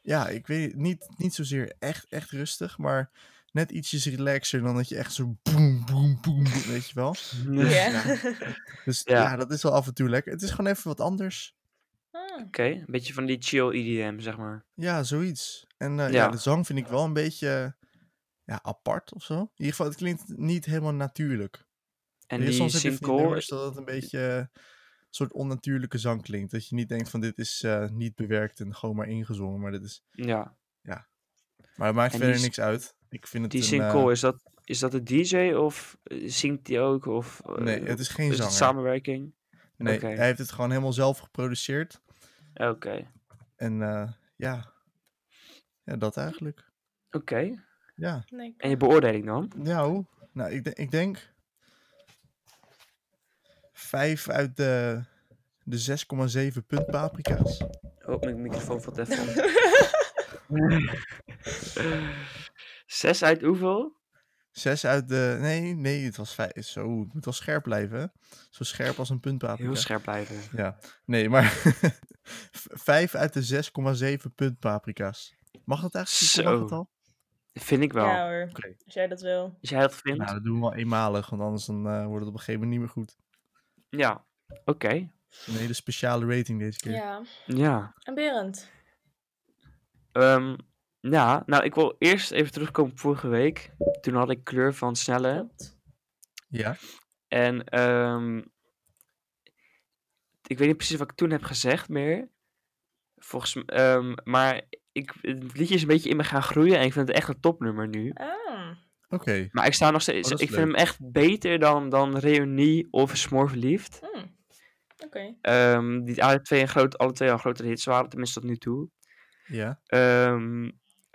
[SPEAKER 5] Ja, ik weet het, niet, niet zozeer echt, echt rustig, maar net ietsjes relaxer dan dat je echt zo boem, boem, boem, boem, weet je wel.
[SPEAKER 4] Nee.
[SPEAKER 3] Ja.
[SPEAKER 5] Dus
[SPEAKER 4] Ja.
[SPEAKER 5] ja, dat is wel af en toe lekker. Het is gewoon even wat anders.
[SPEAKER 3] Ah,
[SPEAKER 4] Oké, een beetje van die chill EDM, zeg maar.
[SPEAKER 5] Ja, zoiets. En eh, ja.
[SPEAKER 4] Ja.
[SPEAKER 5] de zang vind ik wel een beetje eh, ja, apart of zo. In ieder geval, het klinkt niet helemaal natuurlijk.
[SPEAKER 4] En
[SPEAKER 5] Er is
[SPEAKER 4] die
[SPEAKER 5] soms heb je van die
[SPEAKER 4] single,
[SPEAKER 5] nummers dat het een beetje eh, een soort onnatuurlijke zang klinkt. Dat je niet denkt van dit is eh, niet bewerkt en gewoon maar ingezongen. Maar, dit is...
[SPEAKER 4] ja,
[SPEAKER 5] maar het maakt
[SPEAKER 4] En die
[SPEAKER 5] verder
[SPEAKER 4] s-
[SPEAKER 5] niks uit. Ik vind het
[SPEAKER 4] die
[SPEAKER 5] een,
[SPEAKER 4] single,
[SPEAKER 5] eh,
[SPEAKER 4] is dat, is dat de DJ of eh, zingt die ook? Of, eh,
[SPEAKER 5] nee, het is geen
[SPEAKER 4] is het
[SPEAKER 5] zanger.
[SPEAKER 4] samenwerking?
[SPEAKER 5] nee,
[SPEAKER 4] oké.
[SPEAKER 5] Hij heeft het gewoon helemaal zelf geproduceerd.
[SPEAKER 4] Oké,
[SPEAKER 5] En eh, ja. ja, dat eigenlijk.
[SPEAKER 4] oké.
[SPEAKER 5] Ja,
[SPEAKER 3] nee.
[SPEAKER 4] En je beoordeling dan?
[SPEAKER 5] nou, nou ik, de- ik denk vijf uit de, de 6,7 punt paprika's.
[SPEAKER 4] Oh, mijn microfoon valt even om. Zes uit hoeveel?
[SPEAKER 5] Zes uit de. Nee, nee, het was vijf. Zo, het moet wel scherp blijven. hè? Zo scherp als een puntpaprika.
[SPEAKER 4] Heel scherp blijven.
[SPEAKER 5] Nee, maar. v- vijf uit de 6,7 punt paprika's. Mag dat eigenlijk? Zo. Mag
[SPEAKER 4] Zo.
[SPEAKER 5] het al?
[SPEAKER 4] Vind ik wel.
[SPEAKER 3] Ja hoor,
[SPEAKER 5] Oké.
[SPEAKER 3] als jij dat wil.
[SPEAKER 4] Als jij dat vindt?
[SPEAKER 5] Nou, dat doen we wel eenmalig, want anders dan, eh, wordt het op een gegeven moment niet meer goed.
[SPEAKER 4] Ja. Oké.
[SPEAKER 5] Een hele speciale rating deze keer.
[SPEAKER 3] Ja.
[SPEAKER 4] Ja.
[SPEAKER 3] En Berend.
[SPEAKER 4] Ehm, ja, nou ik wil eerst even terugkomen op vorige week. Toen had ik kleur van snelle.
[SPEAKER 3] Klopt.
[SPEAKER 5] Ja.
[SPEAKER 4] En ehm, ik weet niet precies wat ik toen heb gezegd meer. Volgens m- ehm, maar ik, het liedje is een beetje in me gaan groeien en ik vind het echt een topnummer nu.
[SPEAKER 3] Ah,
[SPEAKER 5] Oké.
[SPEAKER 4] Maar ik sta nog steeds,
[SPEAKER 5] Oh, dat
[SPEAKER 4] ik
[SPEAKER 5] is
[SPEAKER 4] vind hem echt beter dan, dan Reunie of Smoorverliefd.
[SPEAKER 3] hmm. oké.
[SPEAKER 4] Ehm, die alle twee, een groot, alle twee al grote hits waren, tenminste tot nu toe.
[SPEAKER 5] Ja.
[SPEAKER 4] Ehm,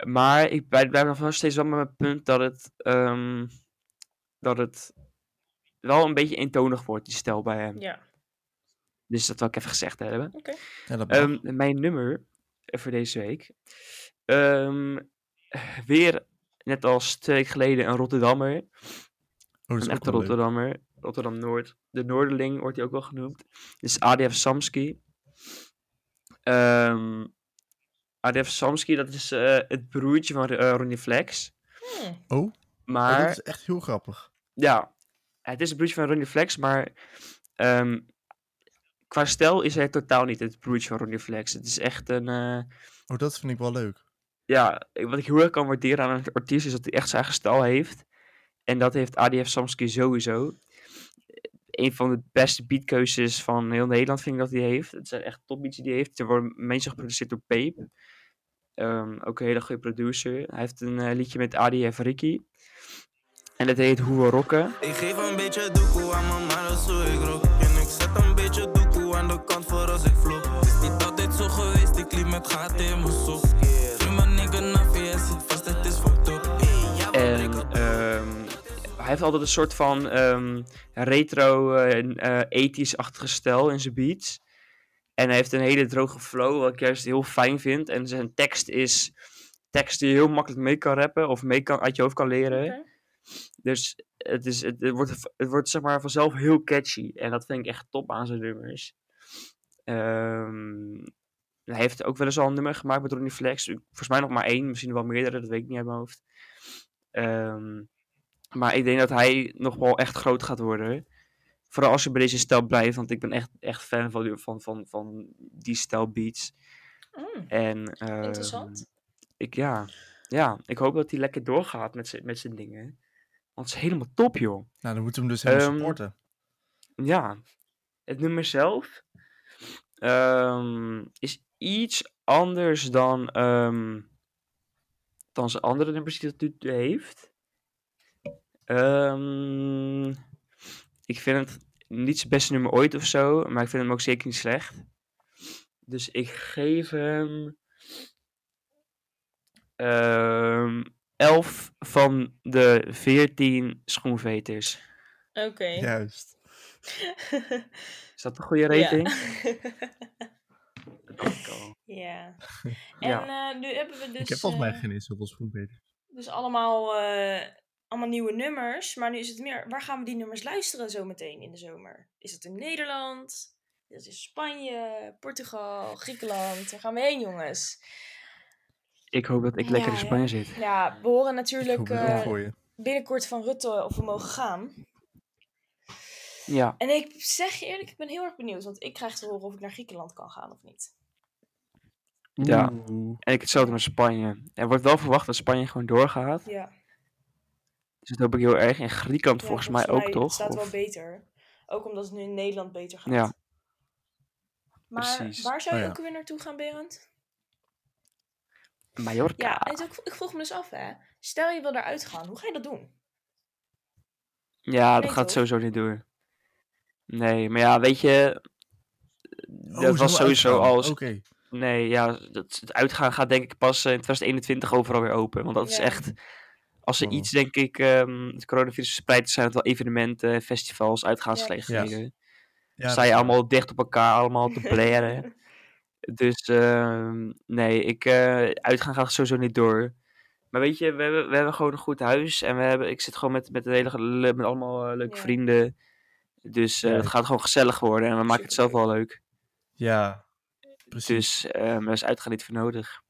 [SPEAKER 4] maar ik blijf, blijf nog wel steeds wel met mijn punt dat het, ehm, dat het wel een beetje eentonig wordt, die stijl bij hem.
[SPEAKER 3] Ja,
[SPEAKER 4] Dus dat wil ik even gezegd hebben.
[SPEAKER 5] ja dat mag.
[SPEAKER 4] Ehm, mijn nummer eh, voor deze week. Ehm, weer, net als twee weken geleden, een Rotterdammer.
[SPEAKER 5] oh, dat is
[SPEAKER 4] Een
[SPEAKER 5] ook
[SPEAKER 4] echte
[SPEAKER 5] wel leuk.
[SPEAKER 4] Rotterdammer. Rotterdam Noord. De Noorderling wordt hij ook wel genoemd. Dus ADF Samski. Ehm, ADF Samski, dat is eh, het broertje van eh, Ronnie Flex.
[SPEAKER 3] Hmm.
[SPEAKER 5] Oh, Oh,
[SPEAKER 4] Maar,
[SPEAKER 5] dat is echt heel grappig.
[SPEAKER 4] ja, het is het broertje van Ronnie Flex, maar ehm, qua stijl is hij totaal niet het broertje van Ronnie Flex. Het is echt een, eh,
[SPEAKER 5] Oh, dat vind ik wel leuk.
[SPEAKER 4] ja, ik- wat ik heel erg kan waarderen aan een artiest is dat hij echt zijn eigen stijl heeft. En dat heeft ADF Samsky sowieso. Een van de beste beatkeuzes van heel Nederland vind ik dat hij heeft. Het zijn echt topbeats die hij heeft. Er worden mensen geproduceerd door Peep. Ehm, ook een hele goede producer. Hij heeft een eh, liedje met ADF Ricky. En dat heet Hoe We Rocken.
[SPEAKER 6] Ik geef een beetje doekoe aan mijn man, dat zo ik rook. En ik zet een beetje doekoe aan de kant voor als ik vloog. Het is niet altijd zo geweest, ik liep met gaten in mijn sok. Nu mijn nigga naffie, hij zit vast, het is fucked up.
[SPEAKER 4] En ehm, hij heeft altijd een soort van ehm, retro, eh, eh 80s-achtige stijl in zijn beats. En hij heeft een hele droge flow, wat ik juist heel fijn vind. En zijn tekst is tekst die je heel makkelijk mee kan rappen of mee kan, uit je hoofd kan leren. Dus het, is, het, het wordt, het wordt zeg maar vanzelf heel catchy. En dat vind ik echt top aan zijn nummers. Ehm, hij heeft ook wel eens al een nummer gemaakt met Ronnie Flex. Ik- Volgens mij nog maar één, misschien wel meerdere, dat weet ik niet uit mijn hoofd. Ehm, maar ik denk dat hij nog wel echt groot gaat worden. Vooral als je bij deze stijl blijft, want ik ben echt, echt fan van, die- van, van, van die stijl beats.
[SPEAKER 3] Mm,
[SPEAKER 4] En,
[SPEAKER 3] Interessant.
[SPEAKER 4] ehm, Ik, ja. ja, ik hoop dat hij lekker doorgaat met zijn- met zijn dingen. Want het is helemaal top, joh.
[SPEAKER 5] Nou, dan moeten we hem dus helemaal
[SPEAKER 4] Ehm,
[SPEAKER 5] supporten.
[SPEAKER 4] Ja, het nummer zelf ehm, is iets anders dan, ehm, dan zijn andere nummers die het nu toe heeft. Ehm, ik vind het niet zijn beste nummer ooit of zo, maar ik vind hem ook zeker niet slecht. Dus ik geef hem ehm 11 van de 14 schoenveters.
[SPEAKER 3] Oké.
[SPEAKER 5] Juist.
[SPEAKER 4] Is dat een goede
[SPEAKER 3] Ja.
[SPEAKER 4] rating? Dat denk ik al.
[SPEAKER 3] ja. En
[SPEAKER 4] Ja.
[SPEAKER 3] eh, nu hebben we dus,
[SPEAKER 5] ik heb volgens mij
[SPEAKER 3] eh,
[SPEAKER 5] geen eens zoveel schoenbeter.
[SPEAKER 3] dus allemaal, eh, allemaal nieuwe nummers. Maar nu is het meer, waar gaan we die nummers luisteren zometeen in de zomer? Is het in Nederland? Dat is Spanje, Portugal, Griekenland. Waar gaan we heen, jongens?
[SPEAKER 4] Ik hoop dat ik
[SPEAKER 3] Ja,
[SPEAKER 4] lekker in
[SPEAKER 3] ja.
[SPEAKER 4] Spanje zit.
[SPEAKER 3] Ja, we horen
[SPEAKER 5] Ik hoop
[SPEAKER 3] natuurlijk
[SPEAKER 5] het ook
[SPEAKER 3] eh,
[SPEAKER 5] voor je.
[SPEAKER 3] binnenkort van Rutte of we mogen gaan.
[SPEAKER 4] Ja,
[SPEAKER 3] En ik zeg je eerlijk, ik ben heel erg benieuwd. Want ik krijg te horen of ik naar Griekenland kan gaan of niet.
[SPEAKER 4] ja.
[SPEAKER 5] Oeh. Oh,
[SPEAKER 4] en ik hetzelfde met Spanje. Er wordt wel verwacht dat Spanje gewoon doorgaat.
[SPEAKER 3] Ja.
[SPEAKER 4] Dus dat hoop ik heel erg. En Griekenland
[SPEAKER 3] Ja,
[SPEAKER 4] volgens mij ook,
[SPEAKER 3] het
[SPEAKER 4] toch?
[SPEAKER 3] staat wel
[SPEAKER 4] Of-
[SPEAKER 3] beter. Ook omdat het nu in Nederland beter gaat.
[SPEAKER 4] Ja.
[SPEAKER 3] Maar
[SPEAKER 4] Precies.
[SPEAKER 3] waar zou je
[SPEAKER 5] Oh ja.
[SPEAKER 3] ook weer naartoe gaan, Berend?
[SPEAKER 4] Mallorca.
[SPEAKER 3] Ja, en ik, ik vroeg me dus af, hè. Stel je wil eruit gaan, hoe ga je dat doen?
[SPEAKER 4] Ja, dat
[SPEAKER 3] Nee,
[SPEAKER 4] gaat
[SPEAKER 3] toch?
[SPEAKER 4] sowieso niet door. Nee, maar ja, weet je... dat
[SPEAKER 5] zo
[SPEAKER 4] was sowieso
[SPEAKER 5] uitgaan.
[SPEAKER 4] al...
[SPEAKER 5] Oké.
[SPEAKER 4] Nee, ja, dat, het uitgaan gaat denk ik pas eh, in 2021 overal weer open. Want dat is
[SPEAKER 3] Ja.
[SPEAKER 4] echt... Als er
[SPEAKER 5] Oh.
[SPEAKER 4] iets, denk ik, ehm, het coronavirus verspreidt, zijn het wel evenementen, festivals, uitgaansgelegenheden.
[SPEAKER 5] Ja,
[SPEAKER 4] sta je allemaal dicht op elkaar, allemaal te blaren. Dus ehm, nee, ik, eh, uitgaan gaat sowieso niet door. Maar weet je, we hebben, we hebben gewoon een goed huis. En we hebben, ik zit gewoon met, met, een hele, le- met allemaal eh, leuke
[SPEAKER 3] Ja.
[SPEAKER 4] vrienden. Dus eh, het
[SPEAKER 5] Leuk.
[SPEAKER 4] gaat gewoon gezellig worden. En we maken het zelf wel leuk.
[SPEAKER 5] Ja, precies.
[SPEAKER 4] Dus ehm er is uitgaan niet voor nodig.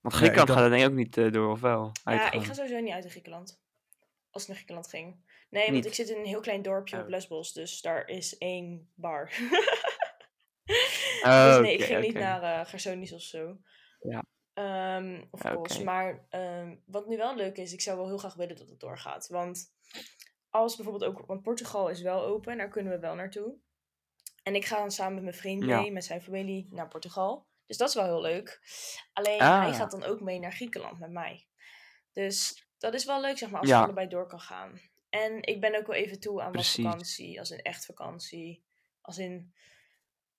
[SPEAKER 4] Want
[SPEAKER 5] Ja,
[SPEAKER 4] Griekenland
[SPEAKER 5] ik
[SPEAKER 4] gaat er denk ik ook niet eh, door, of wel?
[SPEAKER 3] Ja, ik
[SPEAKER 4] Uitgaan.
[SPEAKER 3] ga sowieso niet uit in Griekenland. Als ik naar Griekenland ging. Nee, want
[SPEAKER 4] Niet.
[SPEAKER 3] ik zit in een heel klein dorpje
[SPEAKER 4] Oh.
[SPEAKER 3] op Lesbos, dus daar is één bar.
[SPEAKER 4] Oh,
[SPEAKER 3] dus nee, ik
[SPEAKER 4] oké,
[SPEAKER 3] ging niet
[SPEAKER 4] oké.
[SPEAKER 3] naar eh Garsonis of zo.
[SPEAKER 4] Ja.
[SPEAKER 3] Ehm, of
[SPEAKER 4] Ja,
[SPEAKER 3] Kos.
[SPEAKER 4] oké.
[SPEAKER 3] Maar ehm, wat nu wel leuk is, ik zou wel heel graag willen dat het doorgaat. Want als bijvoorbeeld ook, want Portugal is wel open, daar kunnen we wel naartoe. En ik ga dan samen met mijn vriend
[SPEAKER 4] Ja.
[SPEAKER 3] mee, met zijn familie, naar Portugal. Dus dat is wel heel leuk. Alleen hij
[SPEAKER 4] Ah.
[SPEAKER 3] gaat dan ook mee naar Griekenland met mij. Dus dat is wel leuk, zeg maar, als
[SPEAKER 4] Ja.
[SPEAKER 3] je allebei door kan gaan. En ik ben ook wel even toe aan wat
[SPEAKER 4] Precies.
[SPEAKER 3] vakantie, als in echt vakantie. Als in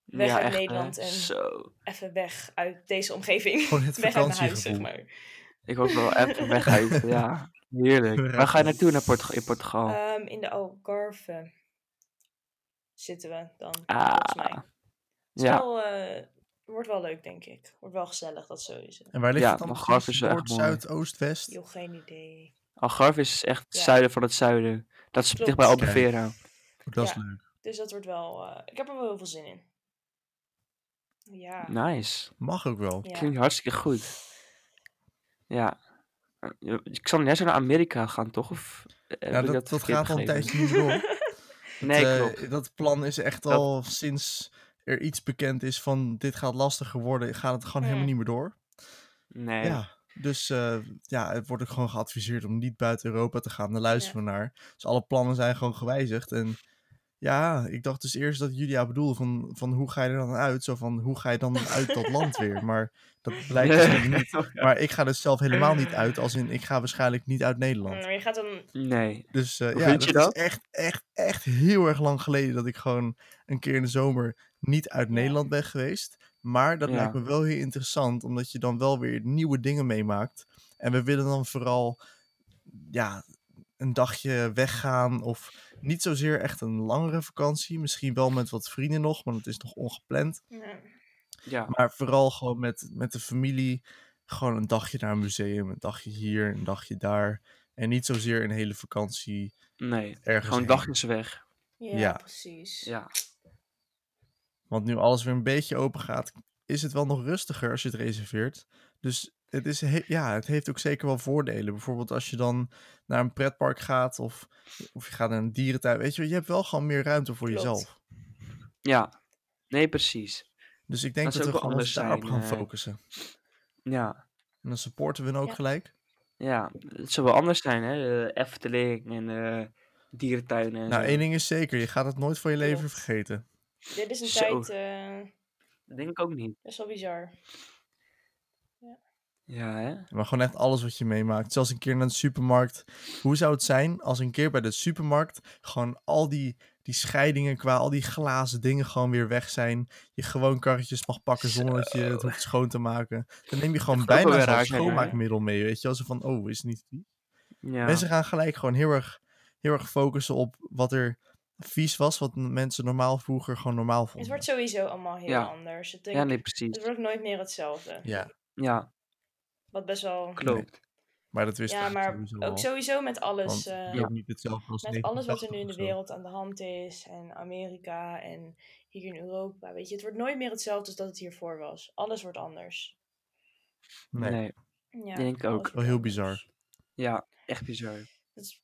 [SPEAKER 3] weg
[SPEAKER 4] Ja,
[SPEAKER 3] uit
[SPEAKER 4] echt, hè.
[SPEAKER 3] Nederland en-
[SPEAKER 4] Zo.
[SPEAKER 3] even weg uit deze omgeving.
[SPEAKER 5] Gewoon het
[SPEAKER 3] weg uit mijn huis, zeg
[SPEAKER 5] vakantiegevoel.
[SPEAKER 3] maar.
[SPEAKER 4] Ik ook wel even weg uit. Ja, heerlijk. Waar ga je naartoe naar Portu- in Portugal?
[SPEAKER 3] Ehm, in de Algarve zitten we dan,
[SPEAKER 4] Ah,
[SPEAKER 3] volgens mij. Het is
[SPEAKER 4] ja.
[SPEAKER 3] wel, eh, wordt wel leuk, denk ik. Wordt wel gezellig, dat sowieso.
[SPEAKER 5] En waar ligt
[SPEAKER 4] Ja,
[SPEAKER 5] het dan?
[SPEAKER 4] maar Garf
[SPEAKER 5] precies?
[SPEAKER 4] is wel echt
[SPEAKER 5] Noord,
[SPEAKER 4] mooi.
[SPEAKER 5] zuid, oost, west?
[SPEAKER 3] Joh, geen idee.
[SPEAKER 4] Algarve is echt het
[SPEAKER 3] Ja.
[SPEAKER 4] zuiden van het zuiden. Dat is
[SPEAKER 3] Klopt.
[SPEAKER 4] dicht bij
[SPEAKER 5] Kijk.
[SPEAKER 4] Albufeira.
[SPEAKER 5] Oh, dat is
[SPEAKER 3] Ja.
[SPEAKER 5] leuk.
[SPEAKER 3] Dus dat wordt wel... eh, ik heb er wel heel veel zin in. Ja.
[SPEAKER 4] Nice.
[SPEAKER 5] Mag ook wel.
[SPEAKER 3] ja.
[SPEAKER 4] Klinkt hartstikke Nou, goed. Ja. Eh, Ik zal net zo naar Amerika gaan, toch? Of eh, heb
[SPEAKER 5] Ja,
[SPEAKER 4] ik
[SPEAKER 5] dat, dat,
[SPEAKER 4] verkeerd
[SPEAKER 5] gaat al een
[SPEAKER 4] begrepen?
[SPEAKER 5] tijdje niet meer op.
[SPEAKER 4] Nee,
[SPEAKER 5] Eh,
[SPEAKER 4] klopt.
[SPEAKER 5] dat plan is echt
[SPEAKER 4] Dat-
[SPEAKER 5] al sinds er iets bekend is van dit gaat lastiger worden, gaat het gewoon
[SPEAKER 3] Hmm.
[SPEAKER 5] helemaal niet meer door.
[SPEAKER 4] Nee.
[SPEAKER 5] Ja, Dus eh, ja, het wordt ook gewoon geadviseerd om niet buiten Europa te gaan. Daar luisteren we naar. Dus alle plannen zijn gewoon gewijzigd. En ja, ik dacht dus eerst dat Julia bedoelde van, van hoe ga je er dan uit? Zo van, hoe ga je dan uit dat land weer? Maar dat blijkt dus helemaal niet. Maar ik ga dus zelf helemaal niet uit. Als in, ik ga waarschijnlijk niet uit Nederland.
[SPEAKER 3] Maar Mm, je gaat dan
[SPEAKER 4] Nee.
[SPEAKER 5] Dus eh,
[SPEAKER 4] Hoe
[SPEAKER 5] ja,
[SPEAKER 4] vind
[SPEAKER 5] dat,
[SPEAKER 4] je dat?
[SPEAKER 5] is echt, echt, echt heel erg lang geleden dat ik gewoon een keer in de zomer niet uit Nederland ben geweest. Maar dat
[SPEAKER 4] Ja.
[SPEAKER 5] lijkt me wel heel interessant, omdat je dan wel weer nieuwe dingen meemaakt. En we willen dan vooral ja, een dagje weggaan of niet zozeer echt een langere vakantie. Misschien wel met wat vrienden nog, want het is nog ongepland.
[SPEAKER 3] ja,
[SPEAKER 4] Ja.
[SPEAKER 5] Maar vooral gewoon met, met de familie. Gewoon een dagje naar een museum, een dagje hier, een dagje daar. En niet zozeer een hele vakantie
[SPEAKER 4] Nee.
[SPEAKER 5] ergens
[SPEAKER 4] Gewoon
[SPEAKER 5] heen.
[SPEAKER 4] dagjes weg.
[SPEAKER 5] Ja.
[SPEAKER 3] precies.
[SPEAKER 4] Ja.
[SPEAKER 5] Want nu alles weer een beetje open gaat, is het wel nog rustiger als je het reserveert. Dus het, is he- ja, het heeft ook zeker wel voordelen. Bijvoorbeeld als je dan naar een pretpark gaat of, of je gaat naar een dierentuin. Weet je, wel, je hebt wel gewoon meer ruimte voor
[SPEAKER 3] Klopt.
[SPEAKER 5] jezelf.
[SPEAKER 4] Ja. Nee, precies.
[SPEAKER 5] Dus ik denk
[SPEAKER 4] Dat
[SPEAKER 5] dat,
[SPEAKER 4] zou
[SPEAKER 5] we
[SPEAKER 4] ook wel
[SPEAKER 5] gewoon ons daarop
[SPEAKER 4] anders zijn,
[SPEAKER 5] gaan
[SPEAKER 4] eh.
[SPEAKER 5] focussen.
[SPEAKER 4] Ja.
[SPEAKER 5] En dan supporten we dan ook
[SPEAKER 3] Ja.
[SPEAKER 5] gelijk.
[SPEAKER 4] Ja. Het zou wel anders zijn, hè? De Efteling en eh dierentuinen. En
[SPEAKER 5] Nou,
[SPEAKER 4] zo.
[SPEAKER 5] één ding is zeker, je gaat het nooit van je leven
[SPEAKER 3] Klopt.
[SPEAKER 5] vergeten.
[SPEAKER 3] Dit is een
[SPEAKER 4] Zo.
[SPEAKER 3] tijd eh,
[SPEAKER 4] Dat denk ik ook niet.
[SPEAKER 3] best wel bizar.
[SPEAKER 4] Ja, hè?
[SPEAKER 5] Maar gewoon echt alles wat je meemaakt. Zelfs een keer naar de supermarkt. Hoe zou het zijn als een keer bij de supermarkt gewoon al die, die scheidingen qua al die glazen dingen gewoon weer weg zijn. Je gewoon karretjes mag pakken zonder dat je het hoeft schoon te maken. Dan neem je gewoon
[SPEAKER 4] Dat is ook
[SPEAKER 5] bijna
[SPEAKER 4] wel weer
[SPEAKER 5] zo'n
[SPEAKER 4] raar, zeg maar, hè?
[SPEAKER 5] schoonmaakmiddel mee, weet je. Als van, oh, is het niet vies?
[SPEAKER 4] Ja.
[SPEAKER 5] Mensen gaan gelijk gewoon heel erg, heel erg focussen op wat er vies was, wat n- mensen normaal vroeger gewoon normaal
[SPEAKER 3] Het
[SPEAKER 5] vonden.
[SPEAKER 3] wordt sowieso allemaal heel
[SPEAKER 4] Ja.
[SPEAKER 3] anders. Ik denk,
[SPEAKER 4] Ja, nee, precies.
[SPEAKER 3] Het wordt ook nooit meer hetzelfde.
[SPEAKER 5] Ja,
[SPEAKER 4] Ja,
[SPEAKER 3] Wat best wel...
[SPEAKER 4] klopt.
[SPEAKER 5] maar dat wist
[SPEAKER 3] Ja,
[SPEAKER 5] ik
[SPEAKER 3] maar
[SPEAKER 5] sowieso al.
[SPEAKER 3] ook sowieso met
[SPEAKER 5] Want
[SPEAKER 3] alles.
[SPEAKER 5] het is
[SPEAKER 3] eh,
[SPEAKER 5] ook niet hetzelfde als
[SPEAKER 3] met alles wat er nu
[SPEAKER 5] 1980
[SPEAKER 3] in de
[SPEAKER 5] of zo.
[SPEAKER 3] wereld aan de hand is. En Amerika en hier in Europa. Weet je, het wordt nooit meer hetzelfde als dat het hiervoor was. Alles wordt anders.
[SPEAKER 4] Nee.
[SPEAKER 5] Nee.
[SPEAKER 3] Ja,
[SPEAKER 4] Denk ik
[SPEAKER 3] alles
[SPEAKER 4] ook.
[SPEAKER 3] wordt
[SPEAKER 5] Wel heel
[SPEAKER 3] anders.
[SPEAKER 5] bizar.
[SPEAKER 4] Ja, echt bizar.
[SPEAKER 3] Dat is-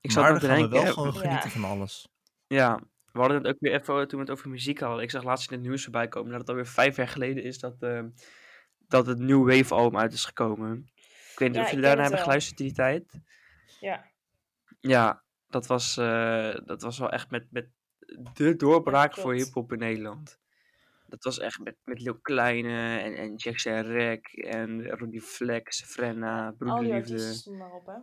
[SPEAKER 4] Ik zat
[SPEAKER 5] maar
[SPEAKER 4] nog
[SPEAKER 5] dan
[SPEAKER 4] te
[SPEAKER 5] gaan we
[SPEAKER 4] denken.
[SPEAKER 5] wel
[SPEAKER 4] hè,
[SPEAKER 5] gewoon
[SPEAKER 3] Ja.
[SPEAKER 5] genieten van alles.
[SPEAKER 4] Ja, we hadden het ook weer even toen we het over muziek hadden. Ik zag laatst in het nieuws voorbij komen dat het alweer vijf jaar geleden is dat, eh, dat het New Wave album uit is gekomen. Ik weet niet
[SPEAKER 3] Ja,
[SPEAKER 4] of
[SPEAKER 3] ik
[SPEAKER 4] jullie
[SPEAKER 3] ken
[SPEAKER 4] daarna
[SPEAKER 3] het
[SPEAKER 4] hebben
[SPEAKER 3] wel.
[SPEAKER 4] geluisterd in die tijd.
[SPEAKER 3] Ja,
[SPEAKER 4] Ja, dat was, eh, dat was wel echt met, met de doorbraak voor
[SPEAKER 3] klopt.
[SPEAKER 4] hip-hop in Nederland. Dat was echt met, met Lil Kleine en, en Jackson Rack en Ronnie Flex, Frenna,
[SPEAKER 3] al die
[SPEAKER 4] Broederliefde.
[SPEAKER 3] artiesten stonden maar op, hè.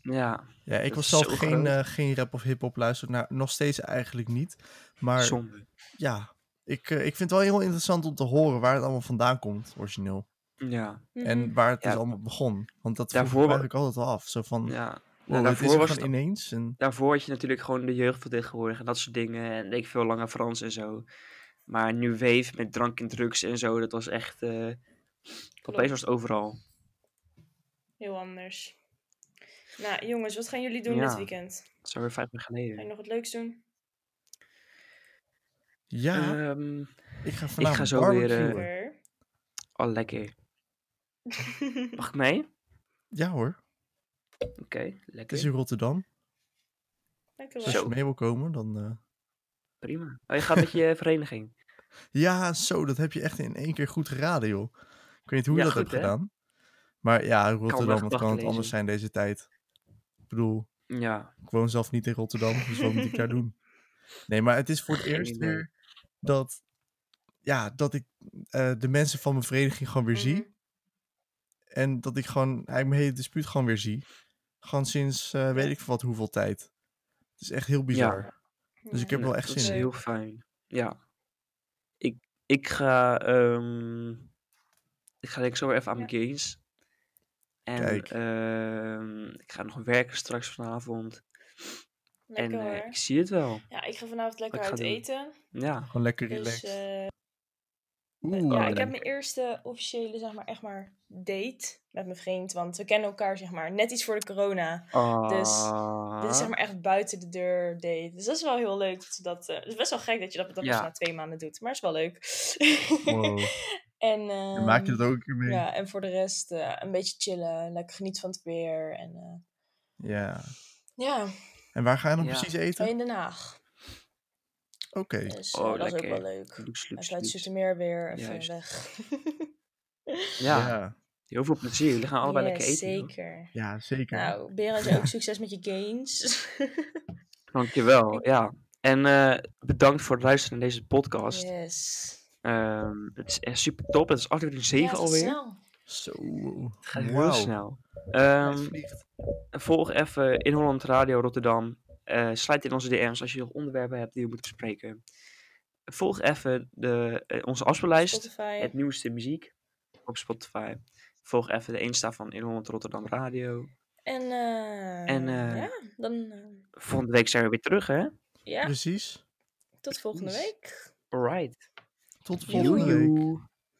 [SPEAKER 4] Ja,
[SPEAKER 5] Ja, ik
[SPEAKER 4] Dat
[SPEAKER 5] was
[SPEAKER 4] is
[SPEAKER 5] zelf
[SPEAKER 4] zo
[SPEAKER 5] geen,
[SPEAKER 4] groot.
[SPEAKER 5] eh, geen rap of hip-hop luisteren. Nou, nog steeds eigenlijk niet. Maar
[SPEAKER 4] zonde.
[SPEAKER 5] ja, ik, eh, ik vind het wel heel interessant om te horen waar het allemaal vandaan komt, origineel.
[SPEAKER 4] Ja,
[SPEAKER 3] Mhm,
[SPEAKER 5] En waar het
[SPEAKER 4] Ja.
[SPEAKER 5] dus allemaal begon. Want dat vroeg ik me
[SPEAKER 4] Daarvoor-
[SPEAKER 5] eigenlijk altijd wel af. Zo van,
[SPEAKER 4] ja. Nou,
[SPEAKER 5] wow, Oh, dit is
[SPEAKER 4] daarvoor
[SPEAKER 5] er
[SPEAKER 4] was
[SPEAKER 5] gewoon ineens. En,
[SPEAKER 4] daarvoor had je natuurlijk gewoon de jeugd van tegenwoordig en dat soort dingen. En ik veel langer Frans en zo. Maar nu Wave met drank en drugs en zo, dat was echt. eh, opeens was het overal.
[SPEAKER 3] Heel anders. Nou, jongens, wat gaan jullie doen
[SPEAKER 4] Ja.
[SPEAKER 3] dit weekend?
[SPEAKER 4] Dat is alweer vijf jaar
[SPEAKER 3] Ga
[SPEAKER 4] geleden.
[SPEAKER 3] je nog wat leuks doen?
[SPEAKER 5] ja,
[SPEAKER 4] Ehm,
[SPEAKER 5] ik ga vanavond
[SPEAKER 4] zo weer, eh,
[SPEAKER 5] barbecuen.
[SPEAKER 3] Lekker.
[SPEAKER 4] oh, lekker. Mag ik mee?
[SPEAKER 5] Ja hoor,
[SPEAKER 4] Oké,
[SPEAKER 5] het is
[SPEAKER 4] lekker.
[SPEAKER 5] in Rotterdam.
[SPEAKER 3] Lekker
[SPEAKER 5] Dus
[SPEAKER 3] wat.
[SPEAKER 5] als
[SPEAKER 4] Zo.
[SPEAKER 5] je mee wil komen, dan... eh,
[SPEAKER 4] Prima. Oh, je gaat met je vereniging.
[SPEAKER 5] Ja, zo, dat heb je echt in één keer goed geraden, joh. Ik weet niet hoe je
[SPEAKER 4] Ja,
[SPEAKER 5] dat hebt
[SPEAKER 4] goed, hè?
[SPEAKER 5] gedaan. Maar ja, Rotterdam, wat
[SPEAKER 4] gedachten
[SPEAKER 5] kan het
[SPEAKER 4] lezen.
[SPEAKER 5] anders zijn deze tijd? Ik bedoel,
[SPEAKER 4] Ja,
[SPEAKER 5] Ik woon zelf niet in Rotterdam, dus wat moet ik daar doen? Nee, maar het is voor het
[SPEAKER 4] Geen
[SPEAKER 5] eerst
[SPEAKER 4] idee.
[SPEAKER 5] weer dat, ja, dat ik eh, de mensen van mijn vereniging gewoon weer
[SPEAKER 3] Mhm.
[SPEAKER 5] zie. En dat ik gewoon eigenlijk mijn hele dispuut gewoon weer zie. Gewoon sinds eh, weet ik veel wat hoeveel tijd. Het is echt heel bizar. Dus ik heb
[SPEAKER 3] Ja.
[SPEAKER 5] wel echt
[SPEAKER 4] dat
[SPEAKER 5] zin
[SPEAKER 4] is
[SPEAKER 3] in.
[SPEAKER 4] heel fijn. Ja. Ik, ik ga. ehm, ik ga denk ik zo weer even aan mijn games. En
[SPEAKER 5] Kijk.
[SPEAKER 4] ehm, ik ga nog werken straks vanavond. En
[SPEAKER 3] Mm-hmm. Lekker
[SPEAKER 4] eh,
[SPEAKER 3] hoor.
[SPEAKER 4] ik zie het wel.
[SPEAKER 3] Ja, ik ga vanavond lekker
[SPEAKER 4] ik ga
[SPEAKER 3] uit
[SPEAKER 4] doen.
[SPEAKER 3] eten.
[SPEAKER 4] Ja.
[SPEAKER 5] Gewoon lekker
[SPEAKER 3] Dus,
[SPEAKER 5] relaxed.
[SPEAKER 3] eh,
[SPEAKER 5] Oeh,
[SPEAKER 3] ja,
[SPEAKER 4] Oh,
[SPEAKER 3] ik heb
[SPEAKER 4] leuk.
[SPEAKER 3] mijn eerste officiële, zeg maar, echt maar date met mijn vriend. Want we kennen elkaar, zeg maar, net iets voor de corona. Dus, Dit is
[SPEAKER 4] Ah.
[SPEAKER 3] zeg maar echt buiten de deur date. Dus dat is wel heel leuk. Dat ze dat, eh, het is best wel gek dat je dat, dat
[SPEAKER 4] Ja.
[SPEAKER 3] pas na twee maanden doet. Maar het is wel leuk.
[SPEAKER 5] wow.
[SPEAKER 3] en,
[SPEAKER 5] Dan maak je
[SPEAKER 3] ehm,
[SPEAKER 5] dat ook een keer mee. Ja.
[SPEAKER 3] Ja, en voor de rest eh, een beetje chillen. Lekker genieten van het weer. En, eh, ja,
[SPEAKER 5] En waar ga je dan
[SPEAKER 4] Ja.
[SPEAKER 5] precies eten?
[SPEAKER 3] in Den Haag.
[SPEAKER 5] Oké.
[SPEAKER 3] Dus eh,
[SPEAKER 4] Oh,
[SPEAKER 3] dat is ook
[SPEAKER 4] lekker.
[SPEAKER 3] wel leuk.
[SPEAKER 4] Loes, loes,
[SPEAKER 3] Even uit
[SPEAKER 4] loes.
[SPEAKER 3] Zoetermeer weer, even
[SPEAKER 4] Juist.
[SPEAKER 3] weg.
[SPEAKER 4] Ja, heel veel plezier. Jullie gaan allebei lekker eten. joh.
[SPEAKER 3] Zeker.
[SPEAKER 5] Ja, zeker.
[SPEAKER 3] Nou, Berend, jij ook succes met je gains.
[SPEAKER 4] Dankjewel, ja. En eh, bedankt voor het luisteren naar deze podcast.
[SPEAKER 3] yes.
[SPEAKER 4] Ehm, het is echt super top. Het is aflevering 7
[SPEAKER 3] Ja, dat is
[SPEAKER 4] alweer.
[SPEAKER 3] snel.
[SPEAKER 5] Zo.
[SPEAKER 4] Het gaat heel
[SPEAKER 5] Wauw.
[SPEAKER 4] snel.
[SPEAKER 5] Het
[SPEAKER 4] Ehm,
[SPEAKER 5] vliegt.
[SPEAKER 4] volg even in Holland Radio Rotterdam. Eh sluit in onze DM's als je nog onderwerpen hebt die we moeten bespreken. Volg even de, eh, onze afspeellijst.
[SPEAKER 3] Spotify.
[SPEAKER 4] Het nieuwste muziek op Spotify. Volg even de Insta van In Holland Rotterdam Radio.
[SPEAKER 3] En, eh,
[SPEAKER 4] En, eh,
[SPEAKER 3] ja, dan eh,
[SPEAKER 4] Volgende week zijn we weer terug, hè?
[SPEAKER 3] ja,
[SPEAKER 4] dus
[SPEAKER 5] Precies.
[SPEAKER 3] tot volgende
[SPEAKER 4] precies.
[SPEAKER 3] week.
[SPEAKER 4] Alright.
[SPEAKER 5] Tot
[SPEAKER 4] Joe,
[SPEAKER 5] volgende week.
[SPEAKER 4] joe.